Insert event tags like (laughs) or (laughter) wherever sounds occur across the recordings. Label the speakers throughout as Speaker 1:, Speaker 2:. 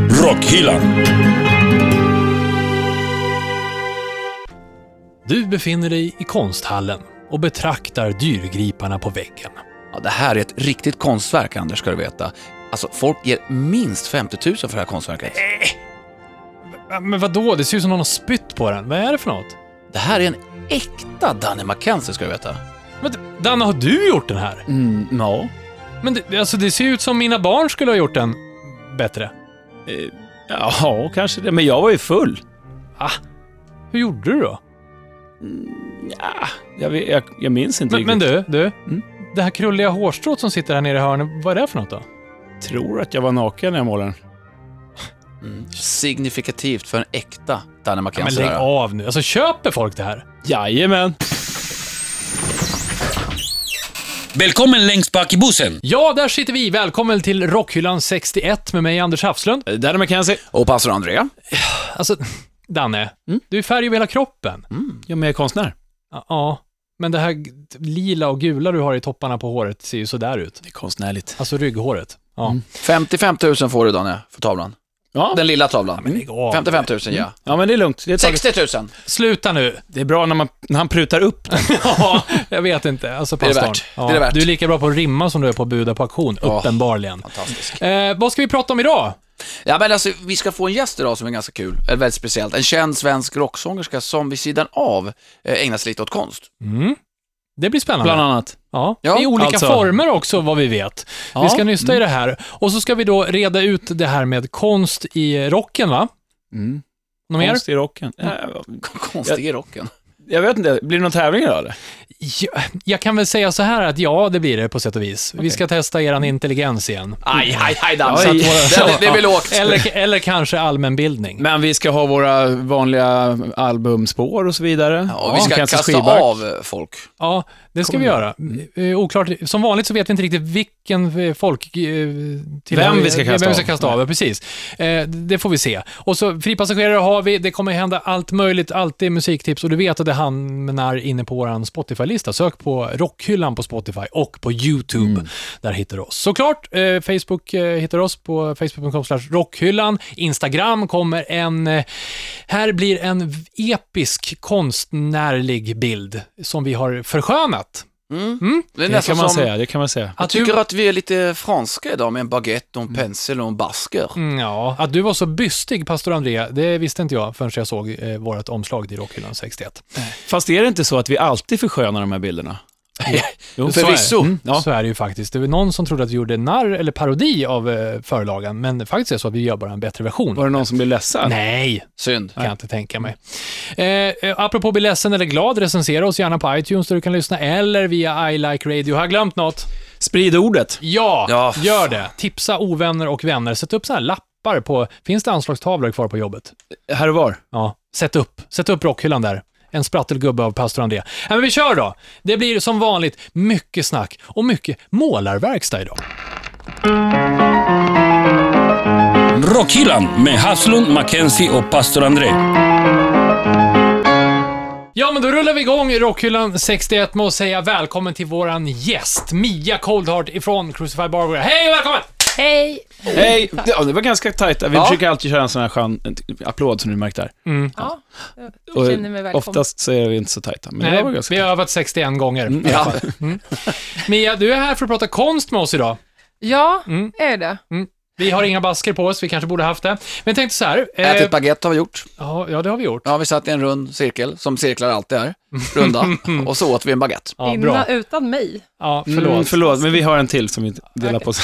Speaker 1: Rockhyllan.
Speaker 2: Du befinner dig i konsthallen och betraktar dyrgriparna på väggen.
Speaker 3: Ja, det här är ett riktigt konstverk, Anders, ska du veta. Alltså, folk ger minst 50 000 för det här konstverket.
Speaker 2: Ja, Men vadå? Det ser ut som någon har spytt på den. Vad är det för något?
Speaker 3: Det här är en äkta Danny McKenzie, ska du veta.
Speaker 2: Men Danne, har du gjort den här?
Speaker 3: Mm, ja.
Speaker 2: Men det, alltså, det ser ut som mina barn skulle ha gjort den bättre.
Speaker 4: Ja, kanske det. Men jag var ju full.
Speaker 2: Hur gjorde du då?
Speaker 4: Ja, jag, vet- jag, jag minns inte
Speaker 2: Men, men
Speaker 4: riktigt.
Speaker 2: du, du.
Speaker 4: Mm.
Speaker 2: Det här krulliga hårstrået som sitter här nere i hörnet, vad är det för något då?
Speaker 4: tror att jag var naken när jag målade den.
Speaker 3: Mm. Signifikativt för en äkta Danny
Speaker 2: Ja, men
Speaker 3: McKenzie.
Speaker 2: lägg
Speaker 3: där.
Speaker 2: av nu. Alltså, köper folk det här?
Speaker 4: Jajamän.
Speaker 1: Välkommen längst bak i bussen.
Speaker 2: Ja, där sitter vi. Välkommen till Rockhyllan 61 med mig, Anders Hafslund.
Speaker 4: Danny Eh, McKenzie.
Speaker 3: Och pastor André.
Speaker 2: Alltså, Danne. Du är färg över hela kroppen.
Speaker 4: Ja, men jag är konstnär.
Speaker 2: Ja, Ja, men det här g- lila och gula du har i topparna på håret ser ju sådär ut.
Speaker 4: Det är konstnärligt. Mm.
Speaker 2: Alltså rygghåret. Ja.
Speaker 3: 55 000 får du, Danny, för tavlan.
Speaker 4: Ja.
Speaker 3: Den lilla tavlan.
Speaker 2: lägg av. Mm.
Speaker 3: 55 000, ja.
Speaker 4: Ja, men det är lugnt. Det är, taget.
Speaker 3: 60 000!
Speaker 2: Sluta nu.
Speaker 4: Det är bra när, man, när han prutar upp den.
Speaker 2: (laughs) Ja, jag vet inte. Alltså,
Speaker 3: är det
Speaker 2: pastorn.
Speaker 3: värt.
Speaker 2: Ja.
Speaker 3: Det är det värt.
Speaker 2: Du är lika bra på att rimma som du är på att buda på auktion,
Speaker 3: Ja.
Speaker 2: uppenbarligen.
Speaker 3: Fantastisk.
Speaker 2: Eh, vad ska vi prata om idag?
Speaker 3: Ja, men alltså, vi ska få en gäst idag som är ganska kul, eller väldigt speciellt. En känd svensk rocksångerska som vid sidan av eh, ägnar sig lite åt konst. (laughs)
Speaker 2: Mm. Det blir spännande.
Speaker 4: Bland annat.
Speaker 2: Ja,
Speaker 3: Ja,
Speaker 2: i olika
Speaker 4: alltså.
Speaker 2: former också vad vi vet.
Speaker 4: Ja. Mm.
Speaker 2: Vi ska nysta i det här. Och så ska vi då reda ut det här med konst i rocken, va?
Speaker 4: Mm.
Speaker 2: Något mer?
Speaker 4: Konst i rocken. Ja,
Speaker 3: Konstig i rocken.
Speaker 4: Jag vet inte, blir det någon tävling idag eller?
Speaker 2: Ja, jag kan väl säga så här att ja, det blir det på sätt och vis. Vi ska testa eran intelligens igen.
Speaker 3: Aj, aj, aj, Dan.
Speaker 4: Oj.
Speaker 3: Det, det blir lågt.
Speaker 2: Eller, eller kanske allmänbildning.
Speaker 4: Men vi ska ha våra vanliga albumspår och så vidare.
Speaker 3: Ja, och vi ska
Speaker 4: Kansas
Speaker 3: kasta
Speaker 4: skivback.
Speaker 3: av eh, folk.
Speaker 2: Ja, det ska vi göra.
Speaker 4: Mm.
Speaker 2: Eh, Oklart, som vanligt så vet vi inte riktigt vilken eh, folk... eh, till-
Speaker 4: Vem vi ska kasta
Speaker 2: vem vi ska
Speaker 4: av.
Speaker 2: kasta av. ja, Precis. Eh, Det får vi se. Och så fripassagerare har vi, det kommer hända allt möjligt, alltid musiktips och du vet att det hamnar inne på vår Spotify-lista. Sök på Rockhyllan på Spotify och på YouTube. Där hittar du oss. Såklart, eh, Facebook eh, hittar du oss på facebook.com slash rockhyllan. Instagram kommer en... eh, Här blir en episk konstnärlig bild som vi har förskönat.
Speaker 3: Det är
Speaker 4: Det kan
Speaker 3: nästan
Speaker 4: man
Speaker 3: som...
Speaker 4: säga, det kan man säga.
Speaker 3: Jag tycker att vi är lite franska idag med en baguette, och en pensel och en basker.
Speaker 2: Mm, Ja, att du var så bystig, pastor André, det visste inte jag förrän jag såg eh, vårt omslag till Rockhyllan 61.
Speaker 4: Fast är det inte så att vi alltid förskönar de här bilderna? Jo, så är det.
Speaker 3: Förvisso.
Speaker 4: Mm, ja.
Speaker 2: Så är det ju faktiskt. Det var någon som trodde att vi gjorde narr eller parodi av eh, förlagan, men faktiskt är det så att vi gör bara en bättre version.
Speaker 4: Var det någon som blev ledsen?
Speaker 2: Nej,
Speaker 3: Synd.
Speaker 2: kan jag inte tänka mig. Eh, eh, apropå bli ledsen eller glad, recensera oss gärna på iTunes där du kan lyssna, eller via I Like Radio. Har jag glömt något?
Speaker 4: Sprid ordet.
Speaker 2: Ja,
Speaker 3: Ja,
Speaker 2: gör
Speaker 3: fan.
Speaker 2: det. Tipsa ovänner och vänner. Sätt upp sådana här lappar på, finns det anslagstavlor kvar på jobbet?
Speaker 4: Här och var.
Speaker 2: Ja, sätt upp. Sätt upp rockhyllan där. En sprattelgubbe av pastor André. Ja, men vi kör då! Det blir som vanligt mycket snack och mycket målarverkstad idag.
Speaker 1: Rockhyllan med Haslund, Mackenzie och pastor André.
Speaker 2: Ja, men då rullar vi igång i Rockhyllan 61 med att säga välkommen till våran gäst, Mia Coldheart ifrån Crucified Barber. Hej och välkommen!
Speaker 5: Hej!
Speaker 4: Hej! Ja, det var ganska tajt. där. Vi
Speaker 3: Ja.
Speaker 4: försöker alltid köra en sån här skön en applåd som du märkte där.
Speaker 5: Ja, jag
Speaker 4: Och
Speaker 5: känner mig välkommen.
Speaker 4: Oftast så är vi inte så tajta, men det där var
Speaker 2: Nej,
Speaker 4: ganska Mm,
Speaker 2: vi har övat 61 gånger.
Speaker 3: Ja.
Speaker 2: Mia, du är här för att prata konst med oss idag.
Speaker 5: Ja,
Speaker 2: Mm.
Speaker 5: är det.
Speaker 2: Vi har inga basker på oss, vi kanske borde haft det. Men jag tänkte så här. eh,
Speaker 3: Ätit baguette har vi gjort.
Speaker 2: ja, ja, det har vi gjort.
Speaker 3: Ja, vi satt i en rund cirkel, som cirklar alltid är, runda, och så åt vi en baguette.
Speaker 2: Ja,
Speaker 5: Innan,
Speaker 2: bra.
Speaker 5: utan mig.
Speaker 2: (laughs) Ja,
Speaker 4: Förlåt.
Speaker 2: förlåt.
Speaker 4: Mm, förlåt, men vi har en till som vi delar på (laughs) oss.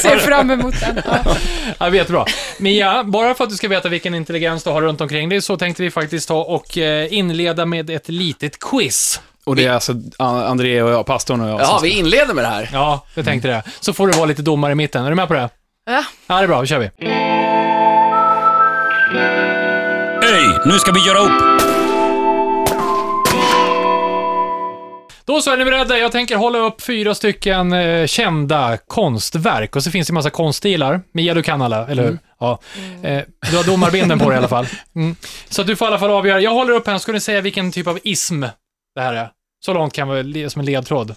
Speaker 5: Ser fram emot den. Ja.
Speaker 2: (laughs) Ja, jättebra. Mia, bara för att du ska veta vilken intelligens du har runt omkring dig så tänkte vi faktiskt ta och eh, inleda med ett litet quiz.
Speaker 4: Och det är alltså An- André och jag, pastorn och jag.
Speaker 3: Jaha,
Speaker 4: som-
Speaker 3: vi inleder med det här.
Speaker 2: Ja, jag tänkte
Speaker 4: Mm.
Speaker 2: det. Så får du vara lite domare i mitten. Är du med på det?
Speaker 5: Ja.
Speaker 2: Ja, det är bra. Då kör vi.
Speaker 1: Öj, nu ska vi göra upp.
Speaker 2: Då så, är ni beredda? Jag tänker hålla upp fyra stycken eh, kända konstverk och så finns det en massa konststilar. Mia, du kan alla, eller hur? Ja. Eh, du har domarbinden på dig i alla fall. Mm. Så att du får i alla fall avgöra. Jag håller upp här, ska ni säga vilken typ av ism det här är. Så långt kan vi le- som en ledtråd.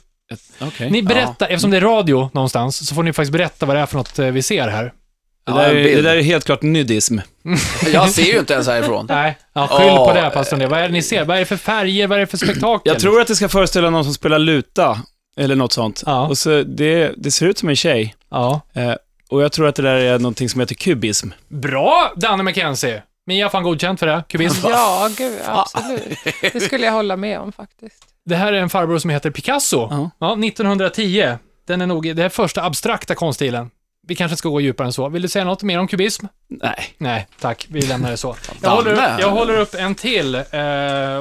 Speaker 4: Okej.
Speaker 2: Ni berättar, eftersom det är radio någonstans, så får ni faktiskt berätta vad det är för något eh, vi ser här.
Speaker 4: Det,
Speaker 3: Ja,
Speaker 4: där,
Speaker 3: en
Speaker 4: är-
Speaker 3: bild.
Speaker 4: det där är helt klart nudism.
Speaker 3: Jag ser ju inte ens härifrån.
Speaker 2: Nej, ja, skyll på
Speaker 3: Ja,
Speaker 2: det här pastorn. Det. Vad är det ni ser? Vad är det för färger? Vad är det för spektakel?
Speaker 4: Jag tror att det ska föreställa någon som spelar luta, eller något sånt.
Speaker 2: Ja.
Speaker 4: Och så det, det ser ut som en tjej.
Speaker 2: Ja.
Speaker 4: Eh, och jag tror att det där är någonting som heter kubism.
Speaker 2: Bra, Danne McKenzie! Men jag har fan godkänt för det. Kubism.
Speaker 5: Ja, gud, absolut. Det skulle jag hålla med om faktiskt.
Speaker 2: Det här är en farbror som heter Picasso.
Speaker 4: Ja.
Speaker 2: Ja, 1910. Den är nog, det här är första abstrakta konststilen. Vi kanske ska gå djupare än så. Vill du säga något mer om kubism?
Speaker 4: Nej.
Speaker 2: Nej, tack. Vi lämnar det
Speaker 3: (laughs)
Speaker 2: så. Jag håller upp, jag håller upp en till. Eh,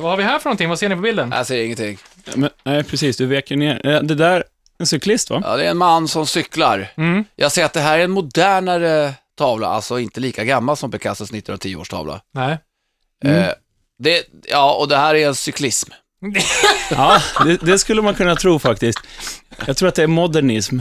Speaker 2: vad har vi här för någonting? Vad ser ni på bilden?
Speaker 3: Jag ser ingenting.
Speaker 4: Men, nej, precis. Du vek ju ner. Eh, Det där, en cyklist va?
Speaker 3: Ja, det är en man som cyklar.
Speaker 2: Mm.
Speaker 3: Jag ser att det här är en modernare tavla, alltså inte lika gammal som Picassos 1910-årstavla.
Speaker 2: Nej.
Speaker 3: Eh, det, ja, och det här är en cyklism.
Speaker 4: Ja, det, det skulle man kunna tro faktiskt. Jag tror att det är modernism.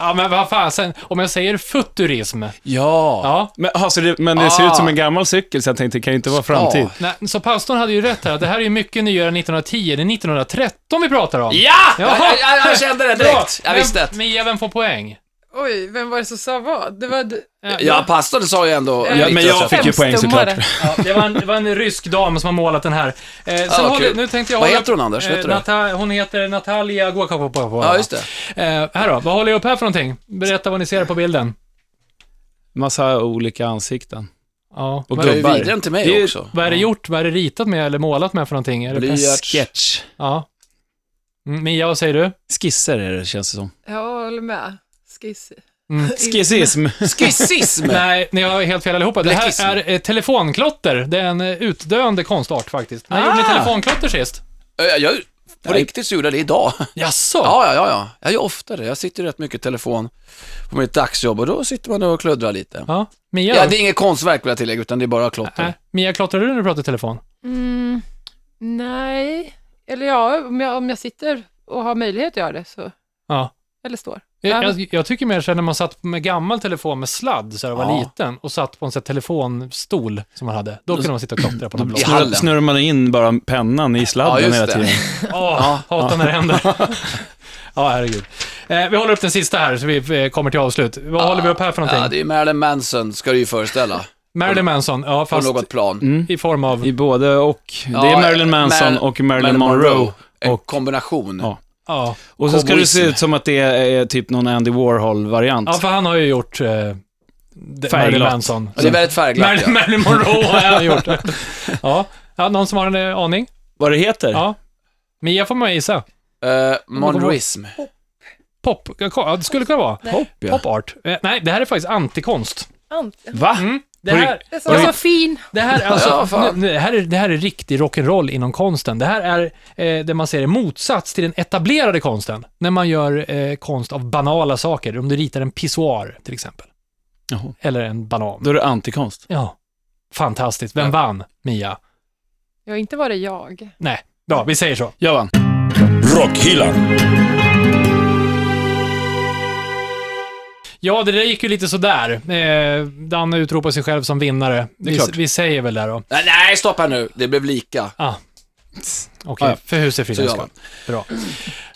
Speaker 2: Ja, men vad fan, sen, om jag säger futurism.
Speaker 3: Ja.
Speaker 2: Ja.
Speaker 4: Men, ja, så det, men det ser ut som
Speaker 3: Ah.
Speaker 4: en gammal cykel, så jag tänkte det kan ju inte vara framtid.
Speaker 3: Ja.
Speaker 2: Nej, så pastorn hade ju rätt här. Det här är ju mycket nyare än 1910. Det är 1913 vi pratar om.
Speaker 3: Ja!
Speaker 2: Jaha.
Speaker 3: Jag, jag, jag kände det direkt. Jag
Speaker 2: Men-
Speaker 3: visste det.
Speaker 2: Men ge vem får poäng?
Speaker 5: Oj, vem var det som sa vad? Det var... d-
Speaker 3: Ja, pastorn sa ju ändå...
Speaker 5: eh,
Speaker 4: men jag fick ju poäng
Speaker 5: femstummare.
Speaker 2: Ja, det, var en, det var en rysk dam som har målat den här. Eh, sen
Speaker 3: vad
Speaker 2: håller,
Speaker 3: kul.
Speaker 2: nu tänkte jag
Speaker 3: Vad
Speaker 2: hålla
Speaker 3: heter
Speaker 2: upp-
Speaker 3: hon, Anders?
Speaker 4: Eh,
Speaker 3: Vet du det?
Speaker 2: Eh, Nata, hon heter Natalia Guacapopova.
Speaker 3: Ja, just det.
Speaker 2: Eh, här då, vad håller jag upp här för någonting? Berätta vad ni ser på bilden.
Speaker 4: Massa olika ansikten.
Speaker 2: Ja.
Speaker 4: Och
Speaker 2: vad,
Speaker 3: Du är ju
Speaker 4: gubbar.
Speaker 3: vidare än till
Speaker 4: Det är
Speaker 3: mig
Speaker 4: ju-
Speaker 3: också.
Speaker 2: vad är det gjort? Vad är det ritat med eller målat med för någonting? Är det,
Speaker 3: Blyerts.
Speaker 4: Sketch.
Speaker 2: ja. Mm, Mia, vad säger du?
Speaker 4: Skisser är det, känns det som.
Speaker 5: Jag håller med. Skiss.
Speaker 4: Skissism.
Speaker 3: Skissism!
Speaker 2: (laughs) Nej, ni har helt fel allihopa. Det
Speaker 3: Bläckism.
Speaker 2: här är eh, telefonklotter. Det är en eh, utdöende konstart faktiskt. När gjorde ni
Speaker 4: Ah!
Speaker 2: telefonklotter sist?
Speaker 3: Eh, Jag, på riktigt så gjorde jag det idag.
Speaker 2: Jaså?
Speaker 3: Ja, ja, ja, ja. Jag gör ofta det. Jag sitter rätt mycket i telefon på mitt dagsjobb och då sitter man och kluddrar lite.
Speaker 2: Ja. Mia?
Speaker 3: Ja, det är inget konstverk vill jag tillägga, utan det är bara klotter.
Speaker 2: Nej. Mia, klottrar du när du pratar i telefon?
Speaker 5: Mm, nej, eller ja, om jag, om jag sitter och har möjlighet att göra det så,
Speaker 2: Ja.
Speaker 5: eller står.
Speaker 2: Jag,
Speaker 5: Ja.
Speaker 2: jag, jag tycker mer så här när man satt med gammal telefon med sladd, så här, var
Speaker 3: Ja.
Speaker 2: liten, och satt på en sån här telefonstol som man hade. Då kunde man sitta och klottra på någon blå.
Speaker 3: I
Speaker 4: Snurrar,
Speaker 3: hallen.
Speaker 4: snurrar man in bara pennan i
Speaker 3: Ja,
Speaker 4: sladden
Speaker 3: just
Speaker 4: hela
Speaker 3: det.
Speaker 4: tiden.
Speaker 2: Åh, hatar när det händer. (laughs) Ja, herregud. Eh, vi håller upp den sista här, så vi eh, kommer till avslut. Vad håller vi upp här för någonting?
Speaker 3: Ja, det är Marilyn Manson, ska du ju föreställa.
Speaker 2: Marilyn Manson, ja,
Speaker 3: På
Speaker 2: fast
Speaker 3: något Mm. plan.
Speaker 2: i form av...
Speaker 4: I både och.
Speaker 3: Ja,
Speaker 4: Mm. det är Marilyn Manson
Speaker 3: Mar-
Speaker 4: och Marilyn Monroe.
Speaker 3: En
Speaker 4: och-
Speaker 3: kombination.
Speaker 4: Ja.
Speaker 2: Ja.
Speaker 4: Och så ska det se
Speaker 3: Cowboysm.
Speaker 4: ut som att det är typ någon Andy Warhol-variant.
Speaker 2: ja, för han har ju gjort... Eh, det- Marilyn
Speaker 4: Färgglatt.
Speaker 2: Manson.
Speaker 3: Ja, Det är väldigt färgglatt.
Speaker 2: Marilyn,
Speaker 3: Ja.
Speaker 2: Marilyn Monroe har han gjort.
Speaker 3: (laughs)
Speaker 2: Ja. ja, någon som har en eh, aning?
Speaker 4: Vad det heter?
Speaker 2: Ja. Mia får man gissa.
Speaker 3: Eh, Monroism.
Speaker 2: Pop, ja, det skulle kunna vara.
Speaker 4: Hopp, ja.
Speaker 2: Pop art. Eh, nej, det här är faktiskt antikonst.
Speaker 5: Ant-
Speaker 4: Va?
Speaker 2: Mm. Det,
Speaker 4: På
Speaker 2: här,
Speaker 5: Det som var så fin.
Speaker 2: det, (laughs) här, är alltså,
Speaker 3: Ja, fan.
Speaker 2: nu, nu, det här är, det här är riktig rock'n'roll inom konsten. Det här är eh, det man ser i motsats till den etablerade konsten. När man gör eh, konst av banala saker. Om du ritar en pissoar till exempel.
Speaker 4: Jaha.
Speaker 2: Eller en banan.
Speaker 4: Då är det antikonst.
Speaker 2: Ja. Fantastiskt. Vem vann, Mia?
Speaker 5: Ja, inte var det jag.
Speaker 2: Nej. Ja, vi säger så.
Speaker 4: Jag vann.
Speaker 1: Rockhyllan.
Speaker 2: Ja, det där gick ju lite sådär. Eh, Danne utropar sig själv som vinnare. Vi,
Speaker 4: klart.
Speaker 2: vi säger väl det då.
Speaker 3: Nej, nej, stopp här nu. Det blev lika.
Speaker 2: Ah. Okej, för
Speaker 3: Så
Speaker 2: husefridens
Speaker 3: gör
Speaker 2: skull. Bra.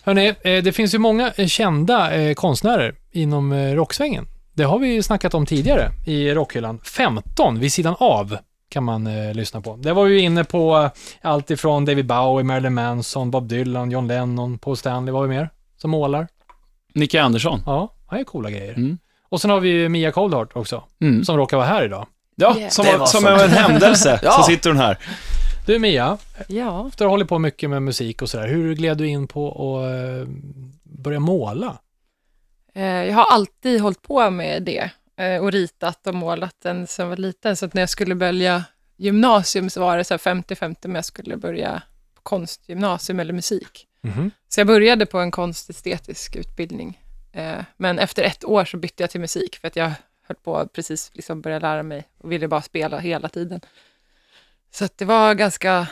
Speaker 2: Hörrni, eh, det finns ju många eh, kända eh, konstnärer inom eh, rocksvängen. Det har vi ju snackat om tidigare i rockhyllan. 15 vid sidan av kan man eh, lyssna på. Där var vi ju inne på eh, allt ifrån David Bowie, Marilyn Manson, Bob Dylan, John Lennon, Paul Stanley, vad har vi mer? Som målar.
Speaker 4: Nicke Andersson.
Speaker 2: Ja, det är coola grejer.
Speaker 4: Mm.
Speaker 2: Och sen har vi ju Mia Coldheart också,
Speaker 4: Mm.
Speaker 2: som råkar vara här idag.
Speaker 4: Ja,
Speaker 5: Yeah.
Speaker 4: som,
Speaker 3: Det
Speaker 4: av-
Speaker 3: var
Speaker 4: som
Speaker 3: som-
Speaker 4: av en (laughs) händelse
Speaker 3: Ja.
Speaker 4: så sitter hon här.
Speaker 2: Du Mia,
Speaker 5: Ja.
Speaker 2: efter att ha hållit på mycket med musik och sådär, hur gled du in på att eh, börja måla?
Speaker 5: Eh, jag har alltid hållit på med det eh, och ritat och målat den sen jag var liten. Så att när jag skulle börja gymnasium så var det så här 50-50 om jag skulle börja på konstgymnasium eller musik.
Speaker 2: Mhm.
Speaker 5: Så jag började på en konstestetisk utbildning. Eh, Men efter ett år så bytte jag till musik för att jag höll på att precis liksom börja lära mig och ville bara spela hela tiden. Så att det var ganska...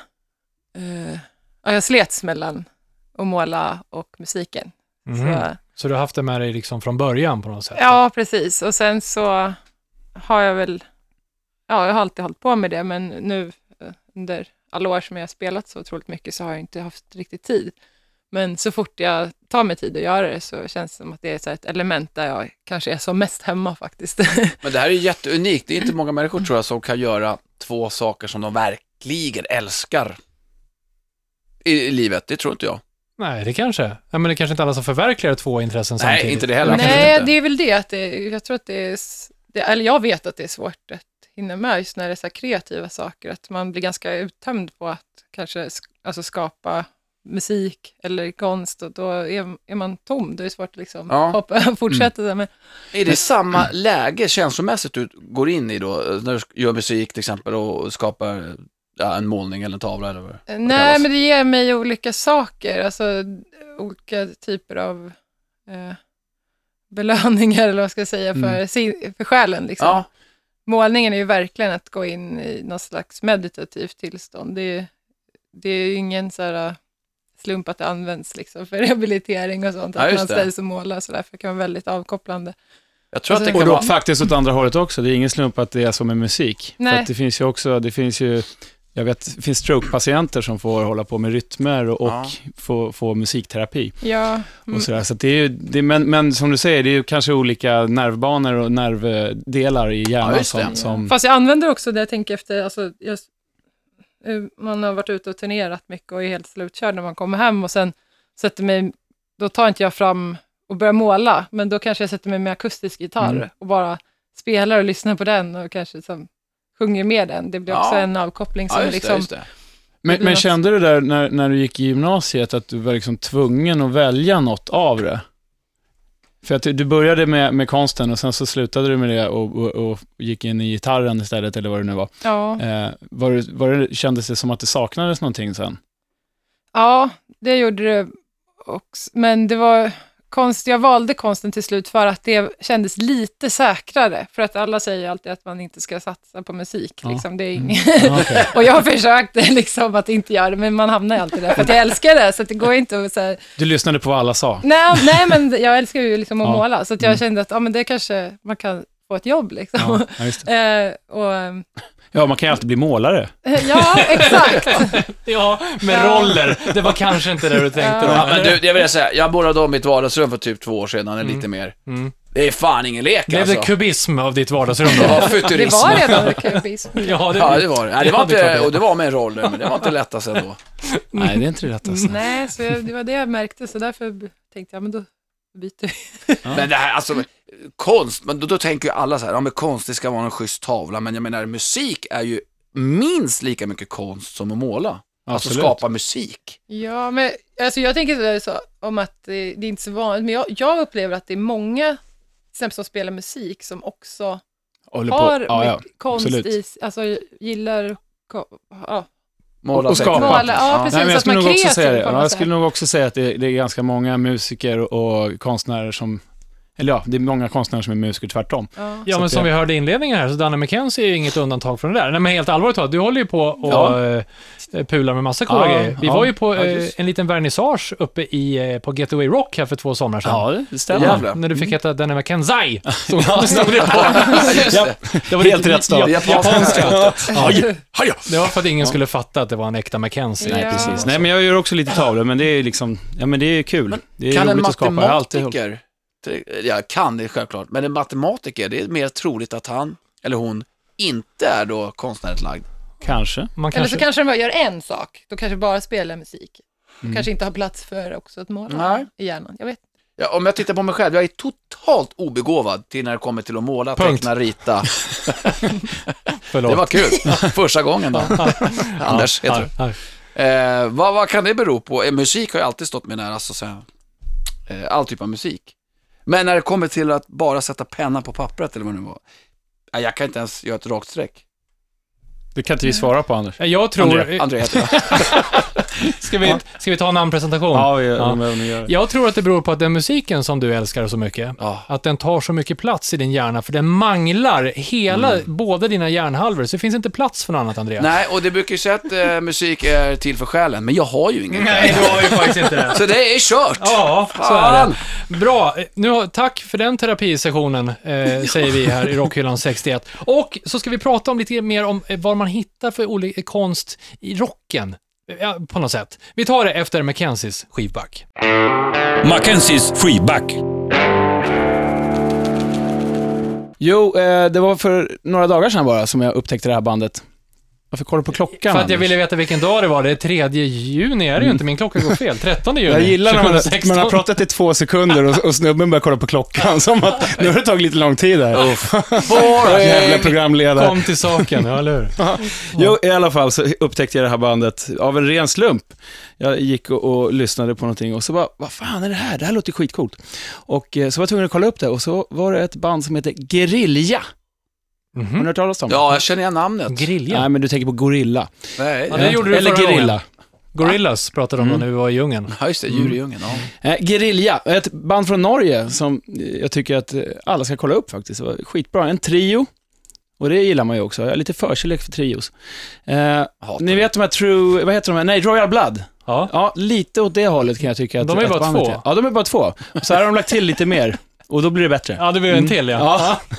Speaker 5: Eh, ja, jag slets mellan att måla och musiken.
Speaker 2: Mhm.
Speaker 5: Så,
Speaker 2: Så du har haft det med dig liksom från början på något sätt?
Speaker 5: ja, precis. Och sen så har jag väl... Ja, jag har alltid hållit på med det, men nu eh, under alla år som jag har spelat så otroligt mycket så har jag inte haft riktigt tid. Men så fort jag tar mig tid att göra det så känns det som att det är så här ett element där jag kanske är som mest hemma faktiskt. (laughs)
Speaker 3: Men det här är jätteunikt. Det är inte många människor tror jag som kan göra två saker som de verkligen älskar i, i livet. Det tror inte jag.
Speaker 2: Nej, det kanske. Ja, men det kanske inte alla som förverkligar två intressen samtidigt.
Speaker 3: Nej, inte det heller. absolut
Speaker 5: Nej,
Speaker 3: inte.
Speaker 5: det är väl det att det, jag tror att det är, s- det, eller jag vet att det är svårt att hinna med just när det är så här kreativa saker, att man blir ganska uttömd på att kanske sk- alltså skapa musik eller konst och då är, är man tom, då är det svårt att liksom
Speaker 3: Ja. Mm.
Speaker 5: hoppa, fortsätta. där. Men
Speaker 3: Är det samma läge känslomässigt du går in i då, eh, när du gör musik till exempel och skapar eh, ja, en målning eller en tavla eller vad det
Speaker 5: Nej,
Speaker 3: kallas?
Speaker 5: men det ger mig olika saker, alltså olika typer av eh, belöningar eller vad jag ska jag säga för, sin, för själen. Liksom.
Speaker 3: Mm. Ja,
Speaker 5: Målningen är ju verkligen att gå in i något slags meditativt tillstånd. Det är, det är ju ingen så här, äh, slump att det används liksom, för (laughs) rehabilitering och sånt,
Speaker 3: Ja,
Speaker 5: att
Speaker 3: just
Speaker 5: man
Speaker 3: det.
Speaker 5: ställer sig och målar och sådär, för det kan vara väldigt avkopplande.
Speaker 3: jag tror att det
Speaker 5: Alltså,
Speaker 4: Och
Speaker 3: kan
Speaker 4: då
Speaker 3: vara...
Speaker 4: faktiskt åt andra hållet också. Det är ingen slump att det är så med musik.
Speaker 5: Nej.
Speaker 4: För att det finns ju också, det finns ju, jag vet, det finns stroke-patienter som får hålla på med rytmer och, och
Speaker 3: Ja.
Speaker 4: få, få musikterapi.
Speaker 5: Ja, mm,
Speaker 4: Och sådär. Så att det är ju, det, men, men som du säger, det är ju kanske olika nervbanor och nervdelar i hjärnan
Speaker 3: Ja, just det.
Speaker 4: som... som
Speaker 5: Fast jag använder också det jag tänker efter, alltså, jag, eh, man har varit ute och turnerat mycket och är helt slutkörd när man kommer hem och sen sätter mig, då tar inte jag fram och börjar måla, men då kanske jag sätter mig med akustisk gitarr
Speaker 4: Mm.
Speaker 5: och bara spelar och lyssnar på den och kanske som, sjunger med den. Det blir också
Speaker 3: Ja.
Speaker 5: en avkoppling som
Speaker 3: Ja, just det,
Speaker 5: liksom,
Speaker 3: just det.
Speaker 4: men, men kände du där när, när du gick i gymnasiet att du var liksom tvungen att välja något av det? För att du, du började med, med konsten och sen så slutade du med det och, och, och gick in i gitarren istället eller vad det nu var.
Speaker 5: ja.
Speaker 4: Eh, var, det- var det, kändes det som att det saknades någonting sen?
Speaker 5: Ja, det gjorde det också. Men det var konst, jag valde konsten till slut för att det kändes lite säkrare. För att alla säger alltid att man inte ska satsa på musik.
Speaker 4: Ja.
Speaker 5: Liksom. Det är
Speaker 4: Mm.
Speaker 5: ing-
Speaker 4: Ah, okej.
Speaker 5: (laughs) och jag har försökt liksom, att inte göra det, men man hamnar ju alltid där. För att jag älskar det, så att det går inte att säga...
Speaker 4: Du lyssnade på vad alla sa.
Speaker 5: Nej, nej, men jag älskar ju liksom att
Speaker 4: Ja.
Speaker 5: måla, så att jag
Speaker 4: Mm.
Speaker 5: kände att ja, men det kanske man kan få ett jobb. Liksom.
Speaker 4: Ja, ja, just det.
Speaker 5: (laughs) Eh, och, ehm,
Speaker 4: ja, man kan ju alltid bli målare.
Speaker 5: ja, exakt.
Speaker 2: Ja, med
Speaker 5: Ja.
Speaker 2: roller. Det var kanske inte det du tänkte då.
Speaker 3: Ja, men
Speaker 2: eller?
Speaker 3: du, jag vill säga, jag målade om mitt vardagsrum för typ två år sedan, eller lite mer.
Speaker 2: Mm.
Speaker 3: Det är fan ingen lek
Speaker 2: Blev det
Speaker 3: alltså.
Speaker 2: kubism av ditt vardagsrum då?
Speaker 3: Ja,
Speaker 5: Det
Speaker 3: futurism.
Speaker 5: var redan kubism.
Speaker 2: Ja, det,
Speaker 3: Ja, det var det. Nej, det var
Speaker 2: Ja, det är klart
Speaker 3: inte,
Speaker 2: det.
Speaker 3: och det var med en roll, men det var inte lättast ändå.
Speaker 4: Nej, det är inte det rättaste.
Speaker 5: (laughs) Nej, så jag, det var det jag märkte, så därför b- tänkte jag, men då byter vi. (laughs)
Speaker 3: Men det här, alltså, konst, men då, då tänker ju alla så här, ja men konst det ska vara en schysst tavla, men jag menar musik är ju minst lika mycket konst som att måla. Alltså
Speaker 4: Absolut.
Speaker 3: skapa musik.
Speaker 5: Ja, men alltså jag tänker sådär så, om att eh, det är inte så vanligt, men jag, jag upplever att det är många till exempel som spelar musik som också
Speaker 4: Håller på.
Speaker 5: har
Speaker 4: Ja, ja.
Speaker 5: mycket konst
Speaker 4: absolut.
Speaker 5: i, alltså gillar, ko- ja,
Speaker 3: Måla
Speaker 4: Och- och
Speaker 3: teckna.
Speaker 4: skapa.
Speaker 5: Måla, ja, precis.
Speaker 4: Nej, men jag
Speaker 5: att man
Speaker 4: skulle
Speaker 5: är
Speaker 4: nog också
Speaker 5: kreativ
Speaker 4: säga det.
Speaker 5: på något
Speaker 4: Ja, jag
Speaker 5: sätt.
Speaker 4: skulle nog också säga att det, det är ganska många musiker och konstnärer som, eller ja, det är många konstnärer som är musiker tvärtom.
Speaker 5: ja.
Speaker 2: Ja,
Speaker 4: Så
Speaker 2: men
Speaker 4: att
Speaker 2: som
Speaker 3: typ.
Speaker 4: det-
Speaker 2: vi hörde i inledningen här, så Danne McKenzie är ju inget undantag från det där. Nej, men helt allvarligt talat, du håller ju på och
Speaker 4: Ja.
Speaker 2: eh, pular med massa coola
Speaker 4: Ja,
Speaker 2: grejer. Vi
Speaker 4: ja.
Speaker 2: var ju på
Speaker 3: Ja,
Speaker 2: eh,
Speaker 3: just.
Speaker 2: en liten vernissage uppe i, eh, på Getaway Rock här för två somrar sedan.
Speaker 4: Ja, det stämmer.
Speaker 3: Jävlar.
Speaker 2: När du fick heta Danne McKenzie. Så,
Speaker 4: stod det på.
Speaker 3: Just det.
Speaker 4: Det var Helt rätt stav.
Speaker 3: Japanska.
Speaker 4: Ja,
Speaker 3: Haja!
Speaker 2: det var för att ingen skulle fatta att det var en äkta McKenzie.
Speaker 5: Ja.
Speaker 4: Nej, precis. Nej, men jag gör också lite tavlor, men det är liksom, ja men det är kul. Det är
Speaker 3: Kan en
Speaker 4: roligt att skapa. Jag har alltid hållit-
Speaker 3: matematiker, till- ja kan det självklart, men en matematiker, det är mer troligt att han eller hon inte är då konstnärligt lagd.
Speaker 4: Kanske.
Speaker 2: Man
Speaker 5: Eller så
Speaker 2: kanske...
Speaker 5: kanske de bara gör en sak, då kanske bara spelar musik. Mm. Kanske inte har plats för också att måla
Speaker 3: Nej.
Speaker 5: i hjärnan, jag vet
Speaker 3: Ja, om jag tittar på mig själv, jag är totalt obegåvad till när det kommer till att måla,
Speaker 2: Punkt. (laughs)
Speaker 3: teckna, rita.
Speaker 2: Förlåt.
Speaker 3: Det var kul. (laughs) Första gången då. Anders heter du.
Speaker 2: Ja, ja.
Speaker 3: Eh, vad, vad kan det bero på? Eh, musik har ju alltid stått mig nära, så att säga. Eh, all typ av musik. Men när det kommer till att bara sätta pennan på pappret eller vad det nu var. Eh, jag kan inte ens göra ett rakt streck.
Speaker 4: Det kan inte vi svara på, Anders.
Speaker 2: Jag tror... Eh,
Speaker 4: André.
Speaker 3: André heter
Speaker 2: (laughs)
Speaker 3: jag.
Speaker 2: Ska vi, ska vi ta en namnpresentation?
Speaker 4: Ja, vi, ja. Om jag nu gör det.
Speaker 2: Jag tror att det beror på att den musiken som du älskar så mycket,
Speaker 3: Ja.
Speaker 2: att den tar så mycket plats i din hjärna, för den manglar hela, båda dina hjärnhalvor, så det finns inte plats för något annat, Andreas.
Speaker 3: Nej, och det brukar ju säga att eh, musik är till för själen, men jag har ju ingen själ.
Speaker 2: du har ju faktiskt inte det.
Speaker 3: Så det är kört.
Speaker 2: Ja, så är det. Bra. Nu, har- tack för den terapisessionen, eh, säger vi här i Rockhyllan 61. Och så ska vi prata om lite mer om eh, vad man hittar för olika konst i rocken. ja, på något sätt. Vi tar det efter Mackenzies skivback.
Speaker 1: Mackenzies freeback.
Speaker 4: Jo, eh, det var för några dagar sedan bara som jag upptäckte det här bandet. Varför kollar du på klockan?
Speaker 2: För att jag
Speaker 4: Anders?
Speaker 2: ville veta vilken dag det var. Det är 3 juni, är det ju inte? Min klocka går fel. 13 juni
Speaker 4: Mm. Jag gillar när man,
Speaker 2: 2016.
Speaker 4: man har pratat i två sekunder och, och snubben börjar kolla på klockan (laughs) som att nu har det tagit lite lång tid här.
Speaker 3: Eh,
Speaker 4: Jävla programledare.
Speaker 2: Kom till saken,
Speaker 4: (laughs)
Speaker 2: ja eller hur?
Speaker 4: Jo, i alla fall så upptäckte jag det här bandet av en ren slump. Jag gick och, och lyssnade på någonting och så bara, vad fan är det här? Det här låter skitcoolt. Och eh, så var jag tvungen att kolla upp det och så var det ett band som heter Guerrilla. Har ni
Speaker 2: Mhm.
Speaker 4: hört talas om?
Speaker 3: Ja, jag känner igen namnet.
Speaker 2: Grilla.
Speaker 4: Mm-hmm. Nej, men du tänker på Gorilla.
Speaker 3: Nej,
Speaker 2: Ja, det
Speaker 3: ja.
Speaker 2: gjorde du
Speaker 4: Eller
Speaker 2: förra
Speaker 4: Guerrilla.
Speaker 2: gången. Gorillas pratade de om
Speaker 4: Mm.
Speaker 2: när vi var i djungeln.
Speaker 3: ja, just det. Djur i djungeln. Ja.
Speaker 4: Eh, Guerrilla, ett band från Norge som eh, jag tycker att eh, alla ska kolla upp faktiskt. Det var skitbra. En trio, och det gillar man ju också. Jag har lite förkärlek för trios. Eh,
Speaker 3: Hatar
Speaker 4: ni vet de här True, vad heter de här? Nej, Royal Blood.
Speaker 2: Ja.
Speaker 4: Ja, lite åt det hållet kan jag tycka att
Speaker 2: De är
Speaker 4: att
Speaker 2: bara
Speaker 4: bandet
Speaker 2: två.
Speaker 4: är. Ja, de är bara två. Och Så här har de lagt till lite mer, och då blir det bättre.
Speaker 2: ja, det blev en till ja.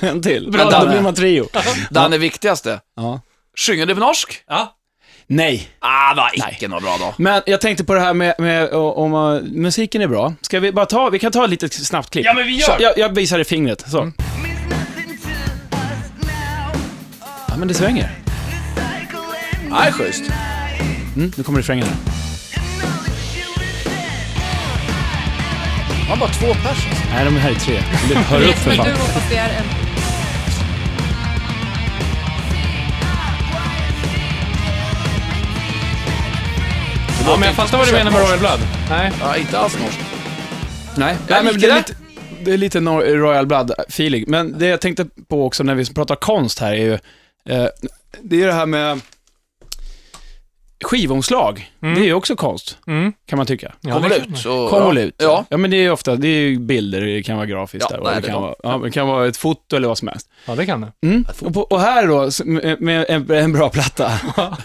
Speaker 4: Mm. Ja, (laughs) en till.
Speaker 3: Bra,
Speaker 4: Men då
Speaker 3: Danne.
Speaker 4: blir man trio.
Speaker 3: Danne, viktigaste.
Speaker 4: Ja.
Speaker 3: Sjunger du på norsk?
Speaker 2: Ja.
Speaker 4: Nej,
Speaker 3: Ah, det var icke något bra då.
Speaker 4: men jag tänkte på det här med, med och- om eh, musiken är bra. Ska vi bara ta, vi kan ta ett litet snabbt klipp.
Speaker 2: Ja, men vi gör. Mm.
Speaker 4: Så, jag, jag visar i fingret, så.
Speaker 6: means nothing to us now.
Speaker 4: Ja, men det svänger.
Speaker 6: Cycle and
Speaker 3: Nej, schysst.
Speaker 4: Mm, nu kommer refrängen här.
Speaker 3: Han var bara två pers.
Speaker 4: Nej, de här är tre. Det- Hör upp för
Speaker 5: Men
Speaker 4: fan.
Speaker 5: du hoppas det är en...
Speaker 2: ja, men jag fattar vad du menar med Royal Blood. Nej.
Speaker 3: Ja, inte alls norsk.
Speaker 4: Nej,
Speaker 3: Jag
Speaker 4: men
Speaker 3: gick
Speaker 4: det är
Speaker 3: det.
Speaker 4: lite, det är lite Nor- Royal Blood-feeling. Men det jag tänkte på också när vi pratar konst här är ju, eh, det är det här med skivomslag. Det är ju också konst,
Speaker 2: Mm.
Speaker 4: kan man tycka.
Speaker 2: Ja,
Speaker 3: Kommer
Speaker 2: det-
Speaker 3: ut. och-
Speaker 4: Kom och
Speaker 3: ja.
Speaker 4: lut.
Speaker 3: Ja.
Speaker 4: men det är ju ofta, det är ju bilder, det kan vara grafiskt
Speaker 3: Ja,
Speaker 4: där, och
Speaker 3: nej,
Speaker 4: det,
Speaker 3: det
Speaker 4: kan
Speaker 3: är
Speaker 4: vara, ja, men det kan vara ett foto eller vad som helst.
Speaker 2: Ja, det kan det.
Speaker 4: Mm. Och, på, och här då, s- med- med en, en bra platta, (laughs)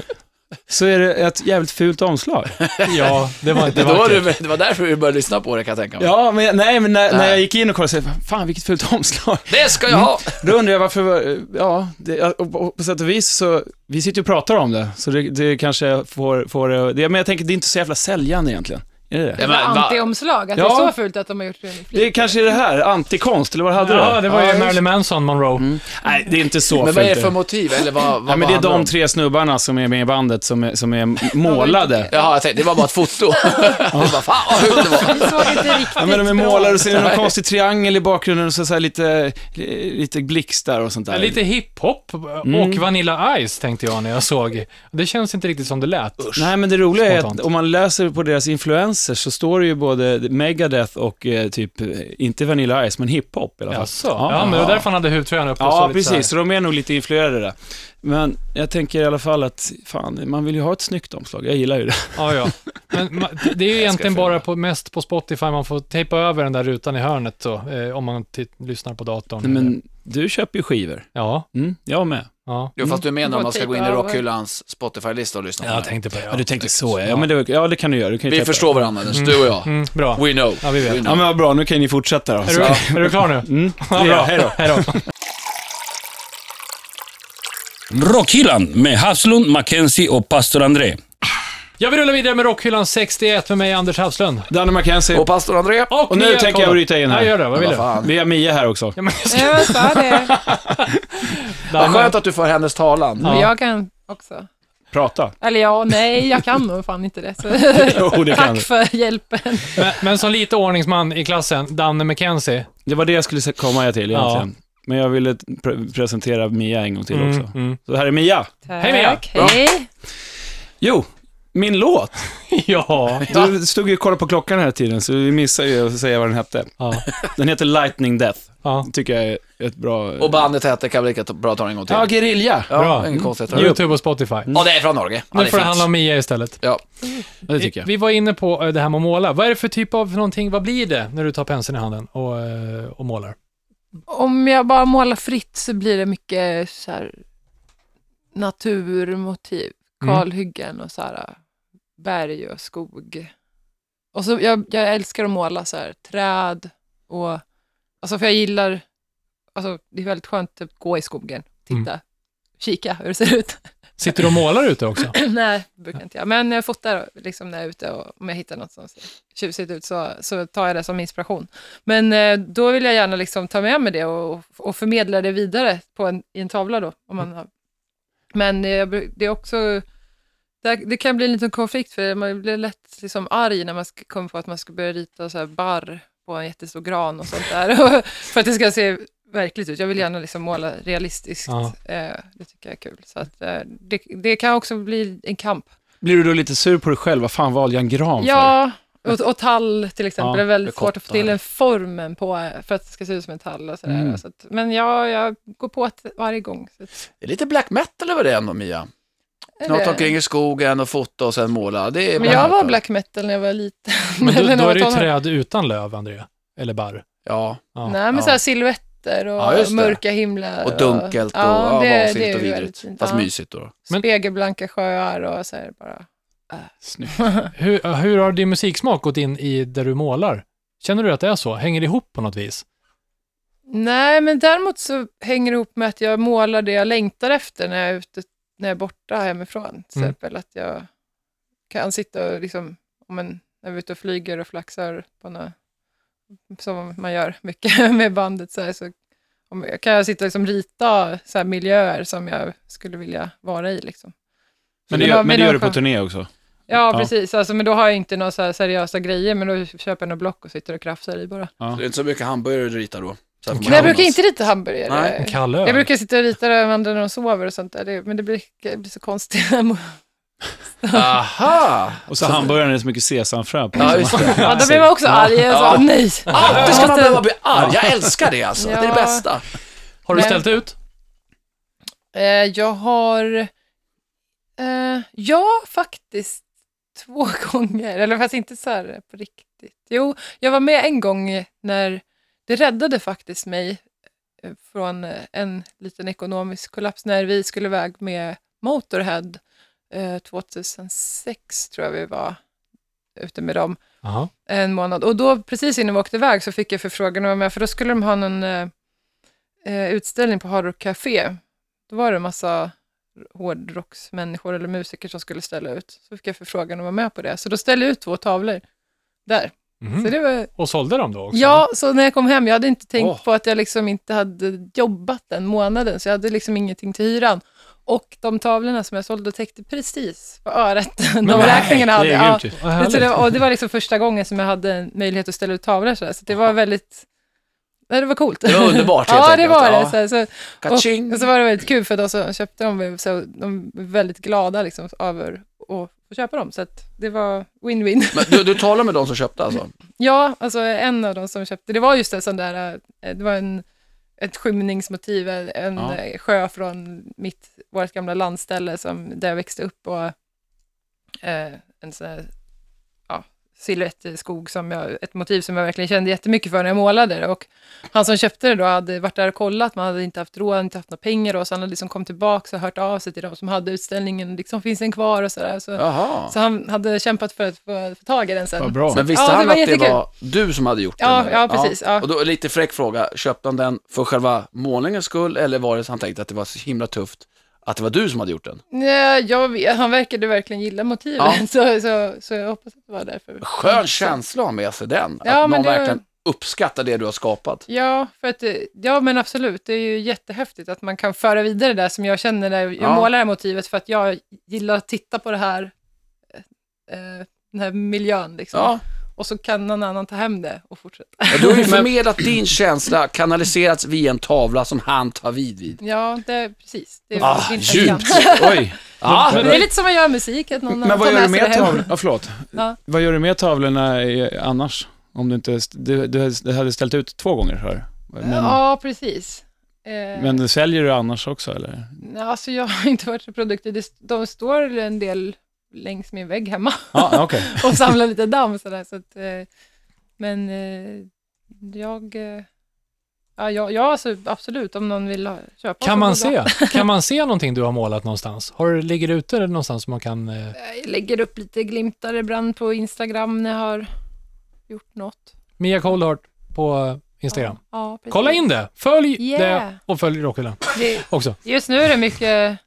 Speaker 4: så är det ett jävligt fult omslag.
Speaker 2: Ja, det var
Speaker 3: (laughs)
Speaker 2: inte
Speaker 3: Det var,
Speaker 2: vackert.
Speaker 3: du, det var därför vi började lyssna på det kan jag tänka mig.
Speaker 4: Ja, men jag- nej, men när, när
Speaker 3: Nej.
Speaker 4: jag gick in och kollade så jag, fan vilket fult omslag.
Speaker 3: Det ska jag ha!
Speaker 4: Då undrar jag varför, ja, det, och på- på sätt och vis så, vi sitter ju och pratar om det, så det, det kanske får, får det- det, men jag tänker det är inte så jävla säljande egentligen. Är det det?
Speaker 3: Ja,
Speaker 5: Jävla
Speaker 3: men, va-
Speaker 5: anti-omslag, att det
Speaker 4: Ja.
Speaker 5: är så fult att de har gjort det. med flit.
Speaker 4: Det är kanske är det här, antikonst, eller vad hade du?
Speaker 2: Ja, det var ju
Speaker 4: just-
Speaker 2: Marilyn Manson, Monroe.
Speaker 4: Nej, det är inte så
Speaker 3: men vad är det
Speaker 4: fult.
Speaker 3: för motiv? Eller vad, vad,
Speaker 4: Ja,
Speaker 3: vad
Speaker 4: men det är
Speaker 3: handlar
Speaker 4: de
Speaker 3: om?
Speaker 4: tre snubbarna som är med i bandet som är, som är målade.
Speaker 3: Jaha, jag tänkte, det var bara ett foto. det var fan vad fult det var.
Speaker 5: (laughs) Vi såg inte riktigt
Speaker 4: Ja, men de är
Speaker 5: bra
Speaker 4: målade och så är det någon
Speaker 3: Nej.
Speaker 4: konstig triangel i bakgrunden och så, så här lite, lite blixtar och sånt där.
Speaker 2: Ja, Lite hiphop och Vanilla Ice tänkte jag när jag såg. Det känns inte riktigt som det lät.
Speaker 4: Nej, men det roliga är att
Speaker 2: Spontant.
Speaker 4: om man läser på deras influenser så står det ju både Megadeth och eh, typ, eh, inte Vanilla Ice, men hiphop i alla fall.
Speaker 2: Jaså? Alltså. Ja, men det var därför han hade huvtröjan uppe och
Speaker 4: Ja,
Speaker 2: så lite så här.
Speaker 4: precis. Så de är nog lite influerade där. Men jag tänker i alla fall att, fan, man vill ju ha ett snyggt omslag. Jag gillar ju det.
Speaker 2: Ja, ja. Men ma- det är ju egentligen bara på, mest på Spotify man får tejpa över den där rutan i hörnet så, eh, om man tit- lyssnar på datorn.
Speaker 4: Nej,
Speaker 2: eller-
Speaker 4: men du köper ju skivor.
Speaker 2: Ja,
Speaker 4: Mm, jag med.
Speaker 2: ja.
Speaker 3: Jo, fast du menar om man ska gå in i
Speaker 4: typ
Speaker 5: Motiv, ja.
Speaker 3: Rockhyllans Spotify-lista och lyssna på
Speaker 2: Jag
Speaker 3: det.
Speaker 2: tänkte på det. Ja,
Speaker 4: Ja, du tänkte så, ja. Ja, men det, ja, det kan du göra. Du kan ju
Speaker 3: Vi
Speaker 4: köpa.
Speaker 3: förstår varandra, Anders, du och jag.
Speaker 2: Mm, bra.
Speaker 3: We know.
Speaker 2: Ja, vi vet.
Speaker 3: We
Speaker 4: Ja,
Speaker 3: know.
Speaker 4: men vad bra. Nu kan ni fortsätta då.
Speaker 2: Är
Speaker 4: Så-
Speaker 2: du, är du klar nu?
Speaker 4: Mm.
Speaker 2: Ja, bra. Hej då. Hej då.
Speaker 1: Rockhyllan med Haslund, Mackenzie och pastor André.
Speaker 2: Ja, vi rullar vidare med Rockhyllan 61 med mig, Anders Havslund.
Speaker 4: Danne McKenzie.
Speaker 3: Och pastor André?
Speaker 4: Och nu
Speaker 2: Mia
Speaker 4: tänker jag
Speaker 2: Kolla.
Speaker 4: bryta in här.
Speaker 2: Ja, gör det. Vad vill
Speaker 3: Vad
Speaker 2: du?
Speaker 3: fan.
Speaker 4: Vi har Mia här också.
Speaker 2: Ja, men (laughs)
Speaker 4: (laughs)
Speaker 2: jag ska...
Speaker 5: Ja, jag sa det.
Speaker 3: Vad
Speaker 2: Danne.
Speaker 3: skönt att du för hennes talan.
Speaker 5: Men jag kan också.
Speaker 4: Prata.
Speaker 5: Eller ja, nej, jag kan nog fan inte det. Så.
Speaker 4: (laughs) Jo, det kan (laughs)
Speaker 5: Tack
Speaker 4: du.
Speaker 5: för hjälpen.
Speaker 2: Men, men som lite ordningsman i klassen, Danne McKenzie.
Speaker 4: Det var det jag skulle komma jag till egentligen. Men jag ville pre- presentera Mia en gång till också.
Speaker 2: mm.
Speaker 4: Så här är Mia.
Speaker 5: Tack.
Speaker 2: Hej, Mia.
Speaker 5: Hej.
Speaker 4: Jo, min låt.
Speaker 2: (laughs) Ja.
Speaker 4: Du stod ju och kollade på klockan hela tiden, så vi missade ju att säga vad den hette.
Speaker 2: ja.
Speaker 4: Den heter Lightning Death.
Speaker 2: ja.
Speaker 4: tycker jag är ett bra...
Speaker 3: Och bandet hette, kan vi lika bra ta det en gång till.
Speaker 4: ja, Guerrilla.
Speaker 2: bra.
Speaker 3: ingen konstighet. Ja,
Speaker 2: YouTube och Spotify.
Speaker 3: det är från Norge. Mm. Ja,
Speaker 2: Nu
Speaker 3: det
Speaker 2: får det
Speaker 3: finns.
Speaker 2: handla om Mia istället.
Speaker 3: Ja.
Speaker 4: Det tycker jag.
Speaker 2: Vi var inne på eh, det här med att måla. Vad är det för typ av någonting, vad blir det när du tar penseln i handen och, eh, och målar?
Speaker 5: Om jag bara målar fritt så blir det mycket så här naturmotiv.
Speaker 2: Mm.
Speaker 5: Kalhyggen och så här äh, berg och skog. Och så jag, jag älskar att måla så här träd och, alltså för jag gillar,
Speaker 4: Mm.
Speaker 5: alltså det är väldigt skönt att gå i skogen, titta, kika hur det ser ut.
Speaker 2: Sitter du och målar ute också?
Speaker 5: (clears throat) Nej, det brukar inte jag. Men jag fotar liksom när jag är ute och om jag hittar något som ser tjusigt ut så, så tar jag det som inspiration. Men eh, då vill jag gärna liksom ta med mig det och, och förmedla det vidare på en, i en tavla då. Om man har. Men eh, jag bru- det är också, det, det kan bli en liten konflikt för man blir lätt liksom arg när man ska- kommer på att man ska börja rita så här barr på en jättestor gran och sånt där. (laughs) för att det ska se verkligt ut. Jag vill gärna liksom måla realistiskt.
Speaker 2: Ja.
Speaker 5: Eh, det tycker jag är kul. Så att, eh, det, det kan också bli en kamp.
Speaker 4: Blir du då lite sur på dig själv? Vad fan valde jag en gran för?
Speaker 5: Ja, och, och tall till exempel.
Speaker 4: Ja,
Speaker 5: det är väldigt
Speaker 3: ricotta.
Speaker 5: svårt att få till en formen på, för att det ska se ut som en tall och sådär.
Speaker 4: Mm.
Speaker 5: Så att, men jag, jag går på att varje gång. Så att, eh.
Speaker 3: Det är lite black metal över det ändå, Mia. Knata omkring i skogen och fota och sen måla. Det är
Speaker 5: men jag var
Speaker 3: metal.
Speaker 5: black metal när jag var liten.
Speaker 2: (laughs) Men
Speaker 5: eller när
Speaker 2: då,
Speaker 5: jag
Speaker 2: då
Speaker 5: var
Speaker 2: är det ju
Speaker 5: tonåring.
Speaker 2: träd utan löv, André. Eller barr.
Speaker 3: Ja,
Speaker 2: Ja.
Speaker 5: Nej, men
Speaker 2: ja.
Speaker 5: så här silhuetter och
Speaker 3: Ja, just det.
Speaker 5: mörka himlar.
Speaker 3: och dunkelt och ja,
Speaker 5: det- det är
Speaker 3: vansinnigt och
Speaker 5: ju väldigt
Speaker 3: vidrigt.
Speaker 5: fint.
Speaker 3: Fast
Speaker 5: Ja.
Speaker 3: mysigt då.
Speaker 2: Men-
Speaker 5: Spegelblanka sjöar och så här bara.
Speaker 4: Snyggt.
Speaker 2: Hur, hur har din musiksmak gått in i där du målar? Känner du att det är så? Hänger det ihop på något vis?
Speaker 5: Nej, men däremot så hänger det ihop med att jag målar det jag längtar efter när jag är, ute, när jag är borta hemifrån. Till
Speaker 2: Mm.
Speaker 5: exempel att jag kan sitta och liksom, om en, när vi är ute och flyger och flaxar på några, som man gör mycket (laughs) med bandet, så, här, så om, kan jag sitta och liksom rita så här miljöer som jag skulle vilja vara i. Liksom.
Speaker 4: Men
Speaker 5: det
Speaker 4: det
Speaker 5: var-
Speaker 4: gör, men det gör
Speaker 5: var
Speaker 4: du på
Speaker 5: skönt.
Speaker 4: turné också?
Speaker 5: Ja,
Speaker 4: Ja.
Speaker 5: precis. Alltså, men då har jag inte några så här seriösa grejer, men då köper jag några block och sitter och krafsar i bara.
Speaker 3: Det är inte så mycket hamburgare du ritar då. Så här får man
Speaker 5: Men jag
Speaker 3: göra
Speaker 5: brukar
Speaker 3: annars.
Speaker 5: inte rita hamburgare.
Speaker 3: Nej.
Speaker 2: En kall öl?
Speaker 5: Jag brukar sitta och rita det andra när de sover och sånt där, det, men det blir, det blir så konstigt. (laughs)
Speaker 3: Aha!
Speaker 4: Och så hamburgaren är det så mycket sesamfrö på.
Speaker 3: Ja, just det.
Speaker 5: ja, då blir man också arg. Så,
Speaker 3: Ja.
Speaker 5: nej!
Speaker 3: Alltid ska man behöva bli arg. Jag älskar det alltså. Det är
Speaker 5: Ja.
Speaker 3: det bästa.
Speaker 2: Har du
Speaker 5: Nej.
Speaker 2: ställt ut?
Speaker 5: Eh, jag har, eh, ja faktiskt, två (laughs) gånger, eller fast inte så här på riktigt. Jo, jag var med en gång när, det räddade faktiskt mig eh, från eh, en liten ekonomisk kollaps när vi skulle iväg med Motorhead eh, 2006 tror jag vi var ute med dem.
Speaker 2: Jaha.
Speaker 5: en månad. Och då, precis innan vi åkte iväg, så fick jag förfrågan om jag med, för då skulle de ha någon eh, eh, utställning på Hard Rock Café. Då var det en massa hårdrocksmänniskor eller musiker som skulle ställa ut. Så fick jag förfrågan om att vara med på det. Så då ställde jag ut två tavlor där.
Speaker 4: Mm.
Speaker 2: Mhm.
Speaker 5: Så det var,
Speaker 2: Och sålde dem då också?
Speaker 5: ja, så när jag kom hem, jag hade inte tänkt
Speaker 3: Åh.
Speaker 5: på att jag liksom inte hade jobbat den månaden, så jag hade liksom ingenting till hyran. Och de tavlorna som jag sålde täckte precis vad örat de räkningarna hade.
Speaker 4: Det är
Speaker 5: Ja.
Speaker 4: grymt ju.
Speaker 2: Vad
Speaker 5: Det, så
Speaker 2: härligt.
Speaker 5: det, och det var liksom första gången som jag hade en möjlighet att ställa ut tavlor sådär, så det var väldigt, nej, det var coolt.
Speaker 3: Det var underbart helt
Speaker 5: (laughs) Ja, det
Speaker 3: enkelt.
Speaker 5: var
Speaker 3: Ja.
Speaker 5: det. Så, så,
Speaker 3: Kaching!
Speaker 5: och, och så var det väldigt kul för då så köpte de, så, de var väldigt glada liksom över att få köpa dem, så att det var win-win.
Speaker 3: Men du, du talar med de som köpte alltså?
Speaker 5: Ja, alltså en av dem som köpte, det var just en sån där, eh, det var en, ett skymningsmotiv, en- en
Speaker 4: Ja.
Speaker 5: eh, sjö från mitt, vårt gamla landställe som, där jag växte upp och eh, en sån här, ja, silhuett i skog som jag, ett motiv som jag verkligen kände jättemycket för när jag målade det. Och han som köpte det då hade varit där och kollat, man hade inte haft råd, inte haft några pengar och så han hade liksom kommit tillbaka och hört av sig till de som hade utställningen, liksom finns den kvar och sådär. Så,
Speaker 3: Jaha.
Speaker 5: så han hade kämpat för att få, få tag i den sen.
Speaker 4: Vad bra.
Speaker 3: Men visste
Speaker 5: Ja, det
Speaker 3: han
Speaker 5: var
Speaker 3: att det
Speaker 5: jättekul.
Speaker 3: var du som hade gjort
Speaker 5: Ja,
Speaker 3: den?
Speaker 5: ja, precis, ja.
Speaker 3: Och då lite fräck fråga, köpte han den för själva målningens skull eller var det så han tänkte att det var så himla tufft att det var du som hade gjort den?
Speaker 5: Nej, jag vet, han verkade verkligen gilla motivet,
Speaker 3: Ja.
Speaker 5: (laughs) så, så, så jag hoppas att det var därför.
Speaker 3: Skön känsla att ha med sig den,
Speaker 5: Ja,
Speaker 3: att någon
Speaker 5: men det- Liksom.
Speaker 3: verkligen uppskattar det du har skapat.
Speaker 5: Ja, för att, det- ja, men absolut. Det är ju jättehäftigt att man kan föra vidare det där som jag känner när jag
Speaker 3: Ja.
Speaker 5: målar det här motivet, för att jag gillar att titta på det här, eh, den här miljön. Liksom.
Speaker 3: Ja,
Speaker 5: Och så kan någon annan ta hem det och fortsätta.
Speaker 3: och du har ju förmedlat din känsla, kanaliserats via en tavla som han tar vid vid.
Speaker 5: Ja, det, precis. Det är
Speaker 3: Ah,
Speaker 5: det är inte
Speaker 3: djupt.
Speaker 5: sant.
Speaker 4: Oj.
Speaker 3: (laughs) Ja,
Speaker 5: Det är lite som att göra musik, att någon
Speaker 4: Men
Speaker 5: annan
Speaker 4: vad
Speaker 5: tar
Speaker 4: gör du
Speaker 5: med
Speaker 4: med
Speaker 5: sig det hem.
Speaker 4: tavlorna? Ja, förlåt.
Speaker 5: Ja.
Speaker 4: Vad gör du med tavlorna eh, annars? Om du inte... Du, du du hade ställt ut två gånger, hör men,
Speaker 5: Ja, precis. Eh,
Speaker 4: men säljer du annars också, eller?
Speaker 5: Nej, alltså jag har (laughs) inte varit så produktiv. Det- De står en del längs min vägg hemma (laughs)
Speaker 4: Ja, (laughs) okej.
Speaker 5: och samlar lite damm sådär. Så att, eh, men eh, jag... eh, Ja, ja, ja alltså, absolut, om någon vill ha, köpa.
Speaker 2: Kan
Speaker 5: så
Speaker 2: man
Speaker 5: går det
Speaker 2: se?
Speaker 5: bra.
Speaker 2: Kan man se någonting du har målat någonstans? Har du, ligger det ute någonstans som man kan... Eh,
Speaker 5: Jag lägger upp lite glimtar ibland på Instagram när jag har gjort något.
Speaker 2: Mia Coldheart på eh, Instagram.
Speaker 5: Ja, precis.
Speaker 2: Kolla in det! Följ
Speaker 5: Yeah.
Speaker 2: det och följ Rockhyllan
Speaker 5: det!
Speaker 2: också.
Speaker 5: Just nu är det mycket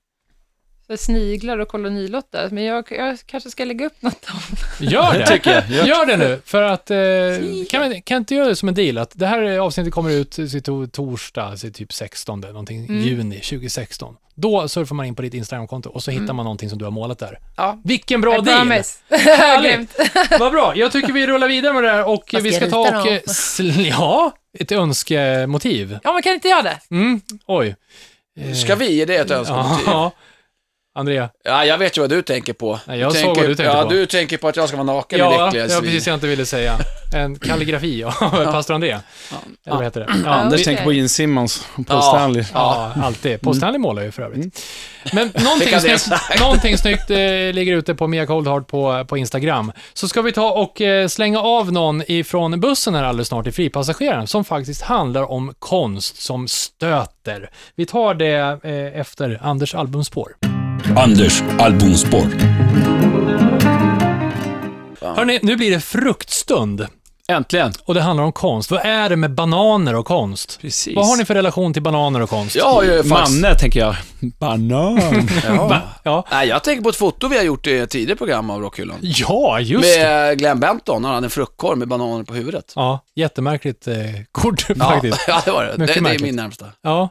Speaker 5: Så sniglar och kolonilotter, men jag, jag kanske ska lägga upp något om
Speaker 4: (laughs)
Speaker 2: Gör det!
Speaker 4: tycker jag. Ja.
Speaker 2: Gör det nu, för att... Eh, kan, vi, kan inte göra det som en deal? Att det här avsnittet kommer ut till to- torsdag, så typ 16, någonting,
Speaker 5: Mm.
Speaker 2: juni 2016. Då surfar man in på ditt Instagramkonto och så hittar man någonting som du har målat där.
Speaker 5: Mm. Ja.
Speaker 2: Vilken bra
Speaker 5: (laughs) I
Speaker 2: deal!
Speaker 5: promise. (laughs) Grymt.
Speaker 2: Vad bra! Jag tycker vi rullar vidare med det här och
Speaker 5: Vad
Speaker 2: vi
Speaker 5: ska
Speaker 2: ska
Speaker 5: jag
Speaker 2: ta
Speaker 5: rita
Speaker 2: och...
Speaker 5: då?
Speaker 2: eh, sl- (laughs) Ja, ett önskemotiv.
Speaker 5: Ja, men kan inte jag det?
Speaker 2: Mm, oj.
Speaker 3: Ska vi ge det ett önskemotiv? Ja.
Speaker 2: Ja. Andrea,
Speaker 3: jag vet ju vad du tänker på.
Speaker 2: Nej, jag såg vad du tänkte
Speaker 3: ja,
Speaker 2: på.
Speaker 3: Du tänker på att jag ska vara naken i
Speaker 2: ja,
Speaker 3: lyckliga
Speaker 2: ja, precis
Speaker 3: svin.
Speaker 2: jag inte ville säga. En kalligrafi av pastor Andrea. Eller vad heter det? Ja,
Speaker 4: Anders
Speaker 5: okej.
Speaker 4: tänker på Gene Simmons och Paul
Speaker 3: Ja.
Speaker 4: Stanley.
Speaker 2: Ja, alltid. Paul Stanley målar ju för övrigt. Men någonting
Speaker 3: kan det
Speaker 2: snyggt, någonting snyggt eh, ligger ute på Mia Coldhard på, på Instagram. Så ska vi ta och eh, slänga av någon ifrån bussen här alldeles snart i fripassageraren, som faktiskt handlar om konst som stöter. Vi tar det eh, efter Anders albumspår.
Speaker 1: Anders albumspår.
Speaker 2: Hörni, nu blir det fruktstund.
Speaker 4: Äntligen.
Speaker 2: Och det handlar om konst. Vad är det med bananer och konst?
Speaker 4: Precis.
Speaker 2: Vad har ni för relation till bananer och konst?
Speaker 3: Jag har ju faktiskt...
Speaker 4: Manne, tänker jag. Banan.
Speaker 3: Ja.
Speaker 2: Ja,
Speaker 3: Nej, jag tänker på ett foto vi har gjort i ett tidigare program av Rockhyllan.
Speaker 2: ja just det.
Speaker 3: Med Glenn Benton, han hade en fruktkorg med bananer på huvudet.
Speaker 2: Ja, jättemärkligt eh, kort (laughs)
Speaker 3: Ja,
Speaker 2: faktiskt.
Speaker 3: (laughs) ja det var det. Det,
Speaker 2: Mycket
Speaker 3: det är
Speaker 2: märkligt.
Speaker 3: min närmsta.
Speaker 2: Ja.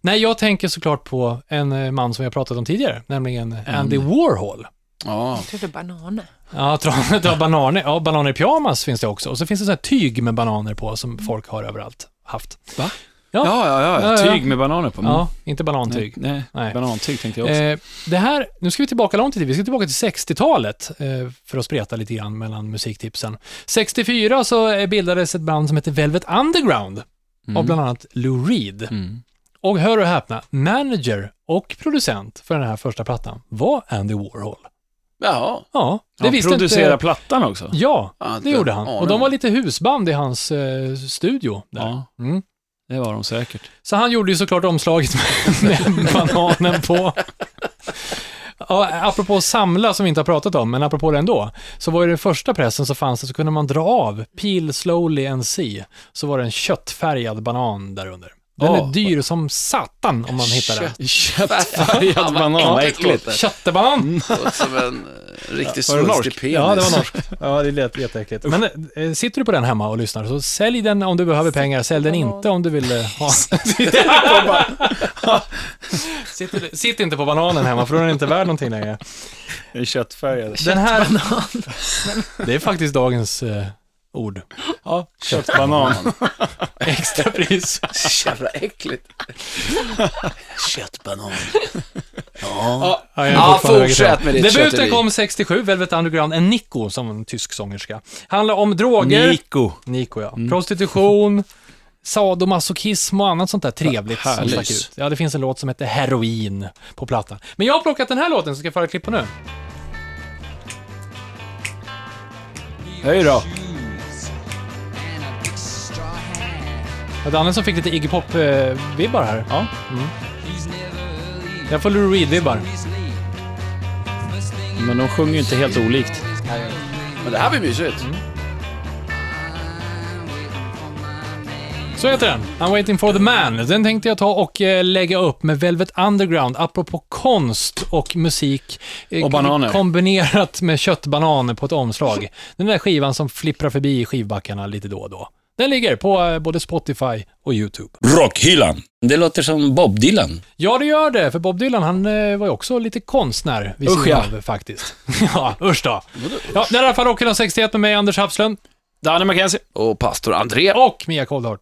Speaker 2: Nej, jag tänker såklart på en eh, man som jag pratat om tidigare, nämligen
Speaker 4: Mm.
Speaker 2: Andy Warhol.
Speaker 3: Ja.
Speaker 5: Jag trodde bananer.
Speaker 2: Ja, (laughs) tronet av bananer. Ja, bananer i pyjamas finns det också. Och så finns det så här tyg med bananer på som
Speaker 4: Mm.
Speaker 2: folk har överallt haft.
Speaker 4: Va?
Speaker 2: Ja, ja.
Speaker 4: Ja, ja, ja.
Speaker 2: Ja, ja.
Speaker 4: Tyg med bananer på. Mm.
Speaker 2: inte banantyg.
Speaker 4: Nej,
Speaker 2: Nej.
Speaker 4: nej. banantyg tänkte jag också.
Speaker 2: Eh, det här, nu ska vi tillbaka långt i tiden. Vi ska tillbaka till 60-talet eh, för att spreta lite grann mellan musiktipsen. 64 så eh, bildades ett band som heter Velvet Underground av bland annat Lou Reed.
Speaker 4: Mm.
Speaker 2: Och hör och häpna, manager och producent för den här första plattan var Andy Warhol.
Speaker 3: Jaha.
Speaker 2: Ja, det
Speaker 4: Han
Speaker 2: visste
Speaker 4: producerar
Speaker 2: inte...
Speaker 4: plattan också.
Speaker 2: Ja,
Speaker 3: Ja, inte
Speaker 2: det gjorde han.
Speaker 3: aning.
Speaker 2: Och de var lite husband i hans eh, studio. Där.
Speaker 4: Ja,
Speaker 2: Mm.
Speaker 4: det var de säkert.
Speaker 2: Så han gjorde ju såklart omslaget med, med bananen på. Ja, apropå samla som vi inte har pratat om, men apropå det ändå, så var ju den första pressen så fanns det så kunde man dra av Peel Slowly and See, så var det en köttfärgad banan där under. Den
Speaker 4: Åh.
Speaker 2: är dyr som satan om man hittar den.
Speaker 4: Köttfärgad
Speaker 3: Fan, vad
Speaker 4: banan, vad äckligt.
Speaker 3: låter.
Speaker 2: Köttbanan!
Speaker 3: Låter som en eh, riktig
Speaker 4: Var det norsk?
Speaker 3: svulstig penis.
Speaker 2: Ja, det
Speaker 4: (laughs)
Speaker 2: var norskt. Ja, det lät jätteäckligt. (laughs) Men eh, sitter du på den hemma och lyssnar, så sälj den om du behöver pengar. Sälj den inte om du vill eh, ha... (laughs) sitt, sitt inte på bananen hemma, för då är den inte värd någonting längre.
Speaker 4: Köttfärgad.
Speaker 2: Den här... (laughs) Det är faktiskt dagens eh, ord.
Speaker 4: Ja, köttbanan.
Speaker 2: Extra pris.
Speaker 3: Så (laughs)
Speaker 2: (laughs)
Speaker 3: jävla äckligt. Köttbanan.
Speaker 2: Ja, jag är
Speaker 3: Ja,
Speaker 2: fortfarande
Speaker 3: fortsätt
Speaker 2: högertrend.
Speaker 3: med ditt
Speaker 2: Debuten
Speaker 3: tjöteri.
Speaker 2: kom 67, Velvet Underground, en Nico som en tysk sångerska. Handlar om droger.
Speaker 4: Nico.
Speaker 2: Nico, ja.
Speaker 3: Mm.
Speaker 2: Prostitution, sadomasochism och annat sånt där trevligt som
Speaker 4: härligt.
Speaker 2: stack ut. Ja, det finns en låt som heter Heroin på plattan. Men jag har plockat den här låten, så ska jag föra klipp på nu.
Speaker 4: Hej då.
Speaker 2: Det var Danne som fick lite Iggy Pop-vibbar här. Ja. Mm. Jag får Lou Reed-vibbar.
Speaker 4: Men de sjunger ju inte helt olikt.
Speaker 3: Men det här blir mysigt.
Speaker 2: Så heter den. I'm waiting for the man. Den tänkte jag ta och eh, lägga upp med Velvet Underground, apropå konst och musik. eh,
Speaker 4: Och bananer.
Speaker 2: Kombinerat med köttbananer på ett omslag. Den där skivan som flipprar förbi i skivbackarna lite då och då. Den ligger på eh, både Spotify och YouTube.
Speaker 1: Rockhyllan. Det låter som Bob Dylan.
Speaker 2: Ja, det gör det, för Bob Dylan han eh, var ju också lite konstnär vid
Speaker 4: Usch,
Speaker 2: sidan
Speaker 4: ja.
Speaker 2: av faktiskt. (laughs) ja, usch då. Ja, det är i alla fall Rockhyllan 61 med mig, Anders Hafslund
Speaker 4: Danne McKenzie.
Speaker 3: Och pastor André.
Speaker 2: och Mia Coldheart.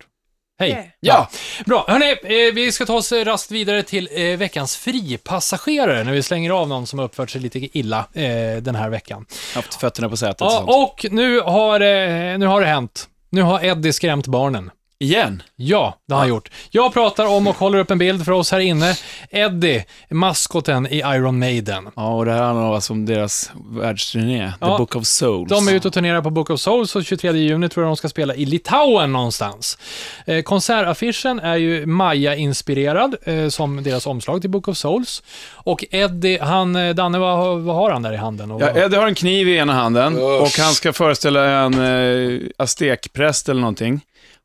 Speaker 2: Hej.
Speaker 3: Ja,
Speaker 2: Bra, hörni, eh, vi ska ta oss eh, rast vidare till eh, veckans fripassagerare när vi slänger av någon som har uppfört sig lite illa eh, den här veckan.
Speaker 4: Haft fötterna på sätet.
Speaker 2: Ja,
Speaker 4: sånt.
Speaker 2: och nu har, eh, nu har det hänt. Nu har Eddie skrämt barnen.
Speaker 4: Igen.
Speaker 2: Ja, det har han gjort. Jag pratar om och håller upp en bild för oss här inne. Eddie, maskoten i Iron Maiden.
Speaker 4: Ja, och det här handlar alltså om deras världsturné,
Speaker 2: Ja.
Speaker 4: The Book of Souls.
Speaker 2: De är ute och turnerar på Book of Souls och 23 juni tror jag de ska spela i Litauen någonstans. Eh, konsertaffischen är ju Maja-inspirerad eh, som deras omslag till Book of Souls. Och Eddie, han, eh, Danne, vad, vad har han där i handen? Och,
Speaker 4: Ja, Eddie har en kniv i ena handen
Speaker 3: Usch.
Speaker 4: och han ska föreställa en eh, aztekpräst eller någonting.